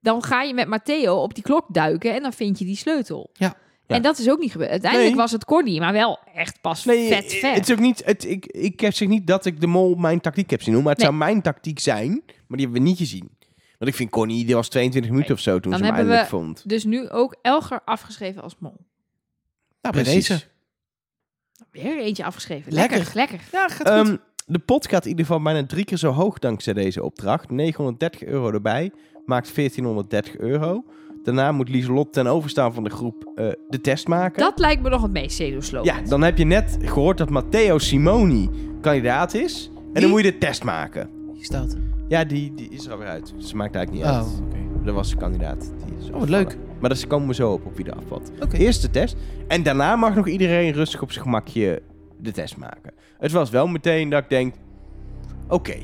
Dan ga je met Matteo op die klok duiken en dan vind je die sleutel. Ja. Ja. En dat is ook niet gebeurd. Uiteindelijk Nee. was het Corny, maar wel echt pas vet ver. Het is ook niet, het, ik, ik heb zeg niet dat ik de mol mijn tactiek heb zien doen. Maar het Nee. zou mijn tactiek zijn, maar die hebben we niet gezien. Want ik vind Connie, die was 22 minuten of zo toen Dan ze hem hebben eindelijk we- vond. Dus nu ook Elger afgeschreven als mol. Nou, bij Precies. deze. Weer eentje afgeschreven. Lekker. Lekker, lekker. Ja, gaat goed. Ehm, de pot gaat in ieder geval bijna drie keer zo hoog dankzij deze opdracht. 930 euro erbij, maakt 1430 euro. Daarna moet Lieselot ten overstaan van de groep eh, de test maken. Dat lijkt me nog het meest zenuwslopend. Ja, dan heb je net gehoord dat Matteo Simoni kandidaat is. En Wie? dan moet je de test maken. Hier staat het. Ja, die, die is er alweer uit. Ze maakt eigenlijk niet Oh, uit. oké. Dat was de kandidaat. Die is Oh, wat afgevallen. leuk. Maar daar komen we zo op, op wie de afvalt. Oké. Eerst de test. En daarna mag nog iedereen rustig op zijn gemakje de test maken. Het was wel meteen dat ik denk... Oké,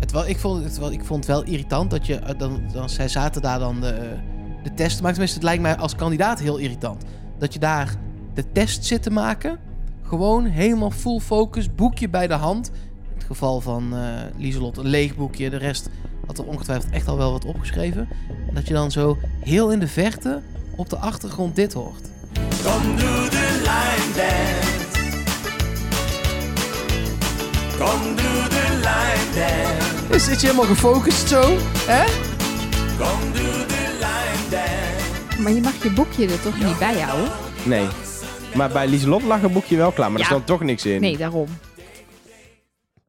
Het wel, ik, vond het wel, ik vond het wel irritant dat je. eh, Dan, dan, zij zaten daar dan de, eh, de test te maken. Tenminste, het lijkt mij als kandidaat heel irritant. Dat je daar de test zit te maken. Gewoon helemaal full focus, boekje bij de hand. In het geval van eh Lieselot een leeg boekje. De rest had er ongetwijfeld echt al wel wat opgeschreven. En dat je dan zo heel in de verte op de achtergrond dit hoort. Kom doe de line dance. Kom doe de line dance. Dus zit je helemaal gefocust zo, hè? Kom doe de line dance. Maar je mag je boekje er toch niet bij houden? nee. Maar bij Lieselot lag het boekje wel klaar, maar er Ja. stond toch niks in. Nee, daarom.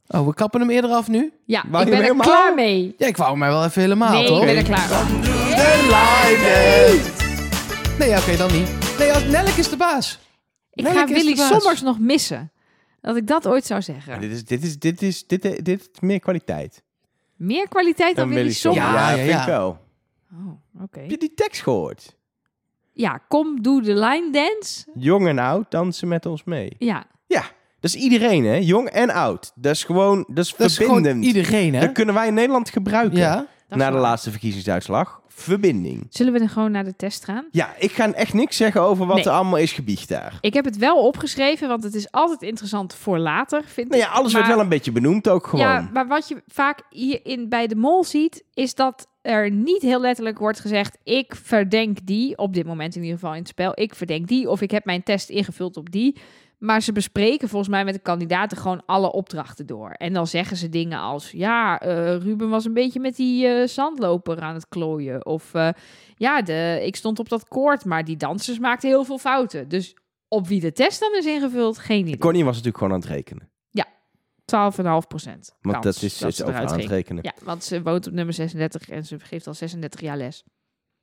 Oh, we kappen hem eerder af nu? Ja, Wou ik je ben er hem klaar helemaal? Ah, mee. Ja, ik wou hem maar wel even helemaal, Nee, toch? ik ben er klaar mee. Kom doe de line dance. Nee, ja, oké, dan niet. Nee, als Nelk is de baas. Ik Welke ga is de Willy baas? Sommers nog missen. Dat ik dat ooit zou Maar zeggen. dit is, dit is, dit is, dit, dit, dit is meer kwaliteit. Meer kwaliteit dan, Willy Sommers. Ja, Ja, ja, vind ja. ik wel. Oh, oké. Heb je die tekst gehoord? Ja, kom, doe de line dance. Jong en oud dansen met ons mee. Ja, Ja, dat is iedereen, hè? Jong en oud. Dat is gewoon, dat is Dat is verbindend. gewoon iedereen, hè? Dat kunnen wij in Nederland gebruiken. Ja. dat Na is de waar. laatste verkiezingsuitslag. Verbinding. Zullen we dan gewoon naar de test gaan? Ja, ik ga echt niks zeggen over wat Nee. er allemaal is gebiecht daar. Ik heb het wel opgeschreven, want het is altijd interessant voor later, vind Nou ik. ja, alles Maar- wordt wel een beetje benoemd ook gewoon. Ja, maar wat je vaak hierin bij de mol ziet, is dat er niet heel letterlijk wordt gezegd: ik verdenk die, op dit moment in ieder geval in het spel, ik verdenk die, of ik heb mijn test ingevuld op die. Maar ze bespreken volgens mij met de kandidaten gewoon alle opdrachten door. En dan zeggen ze dingen als: ja, eh, Ruben was een beetje met die eh, zandloper aan het klooien. Of eh, ja, de, ik stond op dat koord, maar die dansers maakten heel veel fouten. Dus op wie de test dan is ingevuld, geen idee. Connie was natuurlijk gewoon aan het rekenen. 12,5 procent. Want dat is, is over aan het rekenen. Ja, want ze woont op nummer 36 en ze geeft al 36 jaar les.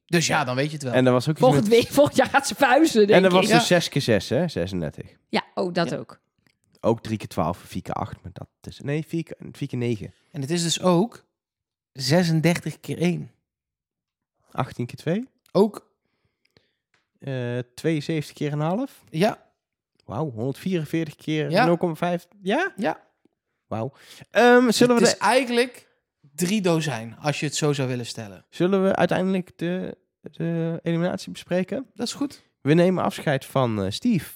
Dus ja, dan weet je het wel. En er was ook iets Volgend, met- week, volgend jaar gaat ze vuizen, denk En er was ik. dus 6 keer 6, hè? 36. Ja, oh, dat Ja. ook. Ook 3 keer 12, 4 keer 8. Maar dat is... Nee, 4 keer, 4 keer 9. En het is dus ook 36 keer 1. 18 keer 2. Ook, eh 72 keer een half. ja, Wauw, 144 keer Ja. 0,5. Ja? ja. Wauw. Ehm, zullen, we het is de- eigenlijk drie dozijn, als je het zo zou willen stellen. zullen we uiteindelijk de, de eliminatie bespreken? Dat is goed. We nemen afscheid van eh, Steve.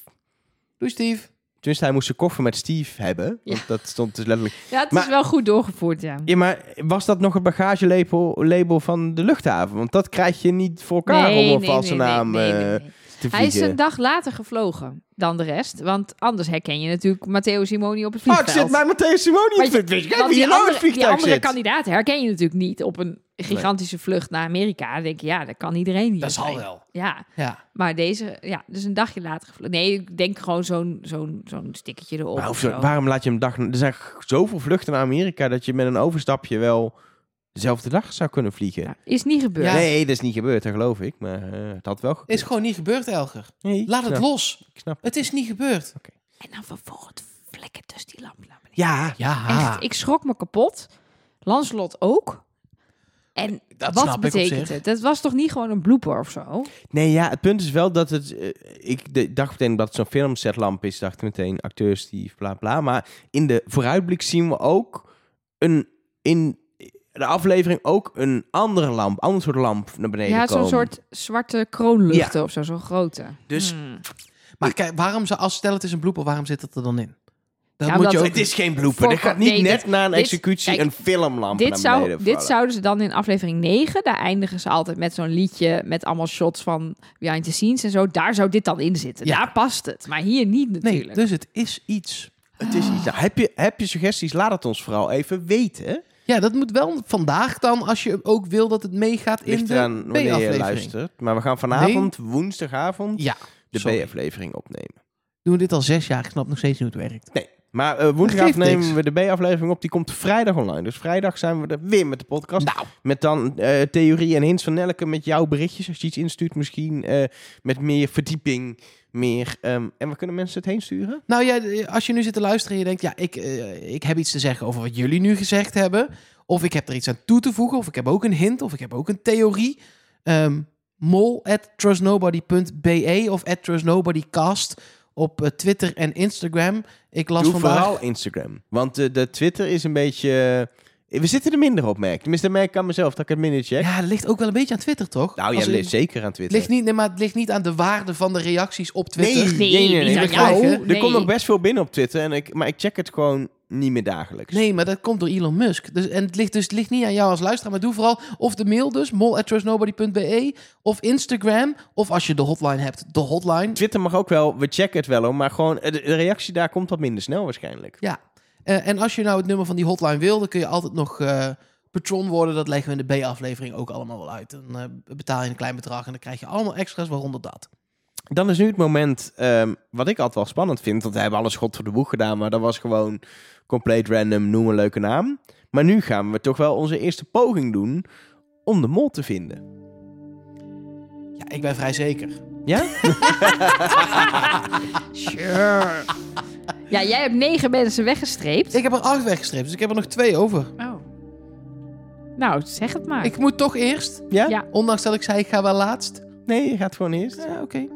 Doei, Steve. Tenminste, hij moest zijn koffer met Steve hebben. Ja. Want dat stond dus letterlijk... Ja, het Maar- is wel goed doorgevoerd, ja. Ja, maar was dat nog het bagagelabel label van de luchthaven? Want dat krijg je niet voor elkaar om een valse naam nee, nee, eh, nee. te Hij is vliegen. een dag later gevlogen dan de rest. Want anders herken je natuurlijk Matteo Simoni op het Fuck, vliegveld. Oh, zit bij Matthäus Simoni Maar in je- het vliegtuig. Kijk want wie die hier nou in het andere, die vliegtuig andere zit. kandidaten herken je natuurlijk niet op een gigantische vlucht naar Amerika. Dan denk je, ja, dat kan iedereen hier Dat zal zijn. wel. Ja, Ja. maar deze, ja, dus een dagje later gevlogen. Nee, ik denk gewoon zo'n zo'n zo'n stickertje erop. Maar of hoezo- zo. waarom laat je hem dag... Er zijn g- zoveel vluchten naar Amerika dat je met een overstapje wel dezelfde dag zou kunnen vliegen. Ja, is niet gebeurd. Ja. Nee, dat is niet gebeurd, dat geloof ik. Maar eh, het had wel gekund. Is gewoon niet gebeurd, Elger. Nee, Laat het nou, los. Ik snap Het is niet gebeurd. En dan vervolgens vlekken dus die lamp naar beneden. Ja, Ja, Echt, ik schrok me kapot. Lanslot ook. En dat wat snap ik op betekent zich. het? Dat was toch niet gewoon een blooper of zo? nee, ja, het punt is wel dat het... eh, ik de- dacht meteen dat het zo'n filmsetlamp is. dacht ik meteen acteurs die bla bla. Maar in de vooruitblik zien we ook een... In de aflevering ook een andere lamp, ander soort lamp naar beneden ja, zo'n komen. soort zwarte kroonluchten of zo, zo'n grote. Dus- Hmm. Maar kijk, waarom ze, als stel het is een blooper, waarom zit dat er dan in? Dat Ja, moet je omdat- ook... Het is geen blooper. Voor- Er gaat niet nee, net dit- na een dit- executie kijk, een filmlamp Dit, naar beneden zou, dit vallen. zouden ze dan in aflevering 9, daar eindigen ze altijd met zo'n liedje met allemaal shots van behind the scenes en zo. Daar zou dit dan in zitten. Ja. Daar past het. Maar hier niet Nee, natuurlijk. dus het is iets. Het is iets. Nou, heb, je, heb je suggesties? Laat het ons vooral even weten. Ja, dat moet wel vandaag dan, als je ook wil dat het meegaat in Ligt de eraan wanneer je B-aflevering. luistert. Maar we gaan vanavond, woensdagavond, Ja, de sorry. B-aflevering opnemen. Doen we dit al zes jaar, ik snap nog steeds niet hoe het werkt. Nee, maar eh, woensdagavond geeft niks. nemen we de B-aflevering op. Die komt vrijdag online. Dus vrijdag zijn we er weer met de podcast. Nou, Met dan eh theorie en hints van Nelke met jouw berichtjes. Als je iets instuurt misschien. eh, met meer verdieping. Meer, ehm, en waar kunnen mensen het heen sturen? nou ja, als je nu zit te luisteren en je denkt, ja, ik, eh, ik heb iets te zeggen over wat jullie nu gezegd hebben. Of ik heb er iets aan toe te voegen, of ik heb ook een hint, of ik heb ook een theorie. Ehm mol at trustnobody.be of at trustnobodycast op eh, Twitter en Instagram. Ik las Doe vandaag... vooral Instagram. Want eh, de Twitter is een beetje... eh, we zitten er minder op, merk. ik. Tenminste, dat merk ik aan mezelf dat ik het minder check. Ja, dat ligt ook wel een beetje aan Twitter, toch? Nou, Als jij in- leest zeker aan Twitter. ligt niet, nee, maar het ligt niet aan de waarde van de reacties op Twitter. Oh, Nee, niet we aan krijgen- jou. Er Nee. komt nog best veel binnen op Twitter, en ik, maar ik check het gewoon niet meer dagelijks. Nee, maar dat komt door Elon Musk. Dus, en het ligt, dus het ligt niet aan jou als luisteraar. Maar doe vooral of de mail dus, mol.trustnobody.be of Instagram. Of als je de hotline hebt, de hotline. Twitter mag ook wel, we checken het wel, hoor, maar gewoon eh, de, de reactie daar komt wat minder snel waarschijnlijk. Ja. Eh, en als je nou het nummer van die hotline wil, dan kun je altijd nog eh, patron worden. Dat leggen we in de B-aflevering ook allemaal wel uit. Dan eh, betaal je een klein bedrag en dan krijg je allemaal extra's, waaronder dat. Dan is nu het moment, ehm, wat ik altijd wel spannend vind, want we hebben alles god voor de boeg gedaan, maar dat was gewoon compleet random, noem een leuke naam. Maar nu gaan we toch wel onze eerste poging doen om de mol te vinden. Ja, ik ben vrij zeker. Ja? Sure. [laughs] ja, jij hebt negen mensen weggestreept. Ik heb er acht weggestreept, dus ik heb er nog twee over. Oh. Nou, zeg het maar. Ik moet toch eerst, Ja? Ja. ondanks dat ik zei ik ga wel laatst. Nee, je gaat gewoon eerst. Ja, oké.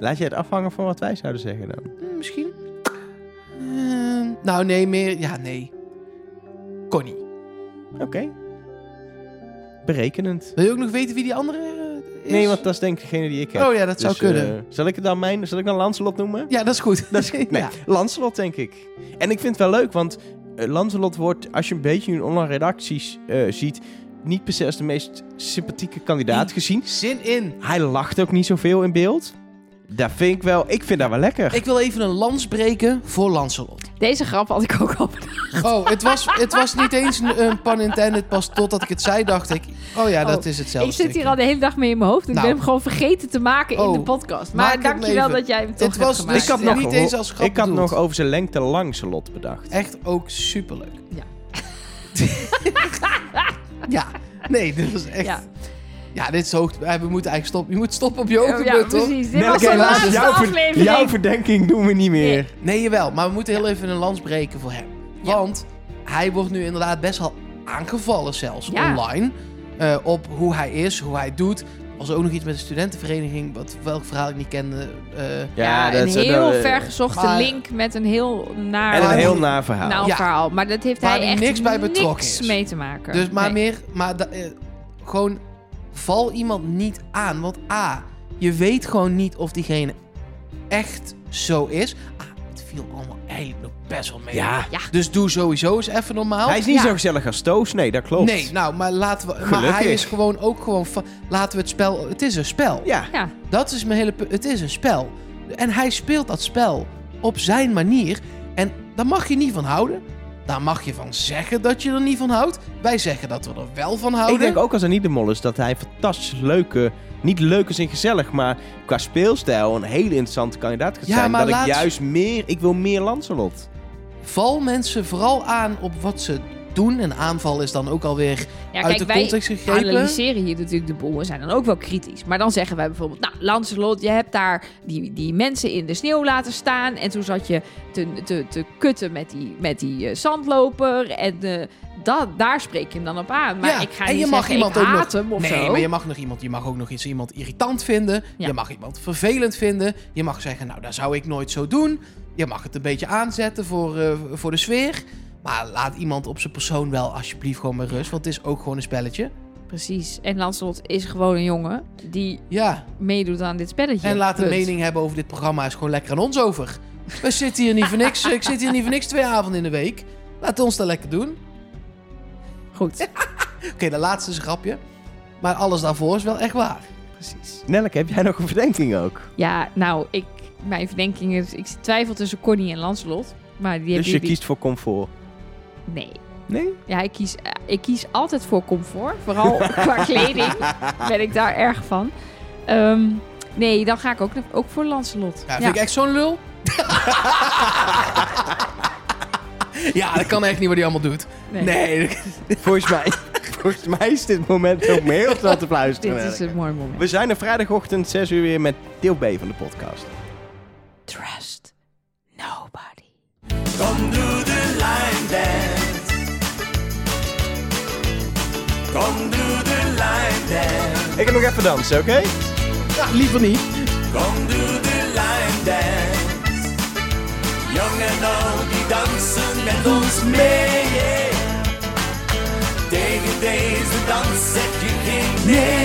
Laat je het afhangen van wat wij zouden zeggen dan. Hm, Misschien. Ehm, nou, nee, meer. Ja, nee. Connie. Oké. Berekenend. Wil je ook nog weten wie die andere eh, is? Nee, want dat is denk ik degene die ik heb. Oh ja, dat zou Dus, eh, kunnen. zal ik het dan mijn, zal ik dan Lancelot noemen? Ja, dat is goed. [laughs] Dat is, Nee, ja. Lancelot denk ik. En ik vind het wel leuk, want eh, Lancelot wordt, als je een beetje in online redacties eh, ziet, niet per se als de meest sympathieke kandidaat gezien. Zin in. Hij lacht ook niet zoveel in beeld. Dat vind ik wel. Ik vind dat wel lekker. Ik wil even een lans breken voor Lancelot. Deze grap had [laughs] ik ook al bedacht. Oh, het was, het was niet eens een, een pun intended. Pas totdat ik het zei, dacht ik... Oh ja, dat Oh, is hetzelfde. ik zit hier al de hele dag mee in mijn hoofd. En Nou. ik ben hem gewoon vergeten te maken Oh, in de podcast. maak Maar hem dankjewel even. dat jij hem toch Het was hebt dus- gemaakt. ik had, Ja, nog, niet geho- eens als grap ik had bedoeld. nog over zijn lengte langselot bedacht. Echt ook superleuk. Ja. [laughs] ja. Nee, dit was echt... Ja, Ja. dit is hoogte... eh, We moeten eigenlijk stoppen. Je moet stoppen op je Oh, ja, hoogtepunt, toch? precies. Dit was Nelke, de laat laatste eens jouw, ver- aflevering. jouw verdenking doen we niet meer. Nee. Nee, jawel. Maar we moeten heel even een lans breken voor hem. Ja. Want hij wordt nu inderdaad best wel aangevallen zelfs Ja. online. eh, op hoe hij is, hoe hij doet. Er was ook nog iets met de studentenvereniging, wat, welk verhaal ik niet kende. eh, Ja, dat is- een heel dat- vergezochte maar- link met een heel naar... En een Maar- heel na verhaal. Nou, Ja. verhaal. Maar dat heeft Waar hij hij echt niks bij betrokken niks is. mee te maken. dus maar Nee. meer, maar da- eh, gewoon val iemand niet aan. Want A, je weet gewoon niet of diegene echt zo is. Ah, het viel allemaal eigenlijk nog best wel mee. ja. Dus doe sowieso eens even normaal. Hij is niet Ja. zo gezellig als Toos. Nee, dat klopt. Nee, nou, maar laten we. Maar Gelukkig. hij is gewoon ook gewoon. fa- Laten we het spel. Het is een spel. Ja. Ja, Dat is mijn hele. pu- Het is een spel. En hij speelt dat spel op zijn manier. En daar mag je niet van houden. Daar mag je van zeggen dat je er niet van houdt. Wij zeggen dat we er wel van oh, houden. Ik denk ook als Annie de Mol is dat hij fantastisch leuke, niet leuk is in gezellig, maar qua speelstijl een hele interessante kandidaat gaat Ja, zijn. maar Dat laatst- ik juist meer, ik wil meer Lancelot. Val mensen vooral aan op wat ze doen. En aanval is dan ook alweer ja uit kijk, de wij context gegrepen. analyseren hier natuurlijk de boel. We zijn dan ook wel kritisch. Maar dan zeggen wij bijvoorbeeld... Nou, Lancelot, je hebt daar die, die mensen in de sneeuw laten staan. En toen zat je te, te, te kutten met die, met die eh, zandloper. En eh, dat, daar spreek je hem dan op aan. Maar Ja, ik ga en niet je mag zeggen, iemand ik ook haat nog, hem of nee, zo. maar je mag nog iemand, je mag ook nog eens iemand irritant vinden. Ja. Je mag iemand vervelend vinden. Je mag zeggen, nou, dat zou ik nooit zo doen. Je mag het een beetje aanzetten voor, eh, voor de sfeer. Maar laat iemand op zijn persoon wel alsjeblieft gewoon met rust, want het is ook gewoon een spelletje. Precies. En Lancelot is gewoon een jongen die Ja, meedoet aan dit spelletje. en laat een Punt. mening hebben over dit programma is gewoon lekker aan ons over. We zitten hier niet voor niks, ik zit hier niet voor niks twee avonden in de week. Laat ons dat lekker doen. [laughs] Goed, Oké, de laatste is een grapje. Maar alles daarvoor is wel echt waar. precies. Nelke, heb jij nog een verdenking ook? Ja, nou, ik, mijn verdenking is... Ik twijfel tussen Connie en Lancelot. Maar die dus je hebben jullie- kiest voor comfort. Nee. Nee? Ja, ik kies, eh, ik kies altijd voor comfort. [laughs] Vooral qua kleding ben ik daar erg van. Ehm, nee, dan ga ik ook, ook voor Lancelot. Ja, vind ik echt zo'n lul. [laughs] ja, dat kan echt niet wat hij allemaal doet. Nee. Nee. [laughs] volgens, mij, [laughs] volgens mij is dit moment ook me heel snel te fluisteren. Dit is Nelke. een mooi moment. We zijn er vrijdagochtend 6 uur weer met deel B van de podcast. Trust nobody. Come do the line dance. Come do the line dance. Ik heb nog even dansen, oké? Ja, liever niet. Come do the line dance. Jong en oud die dansen met ons mee. yeah. Tegen deze dans zeg je geen nee.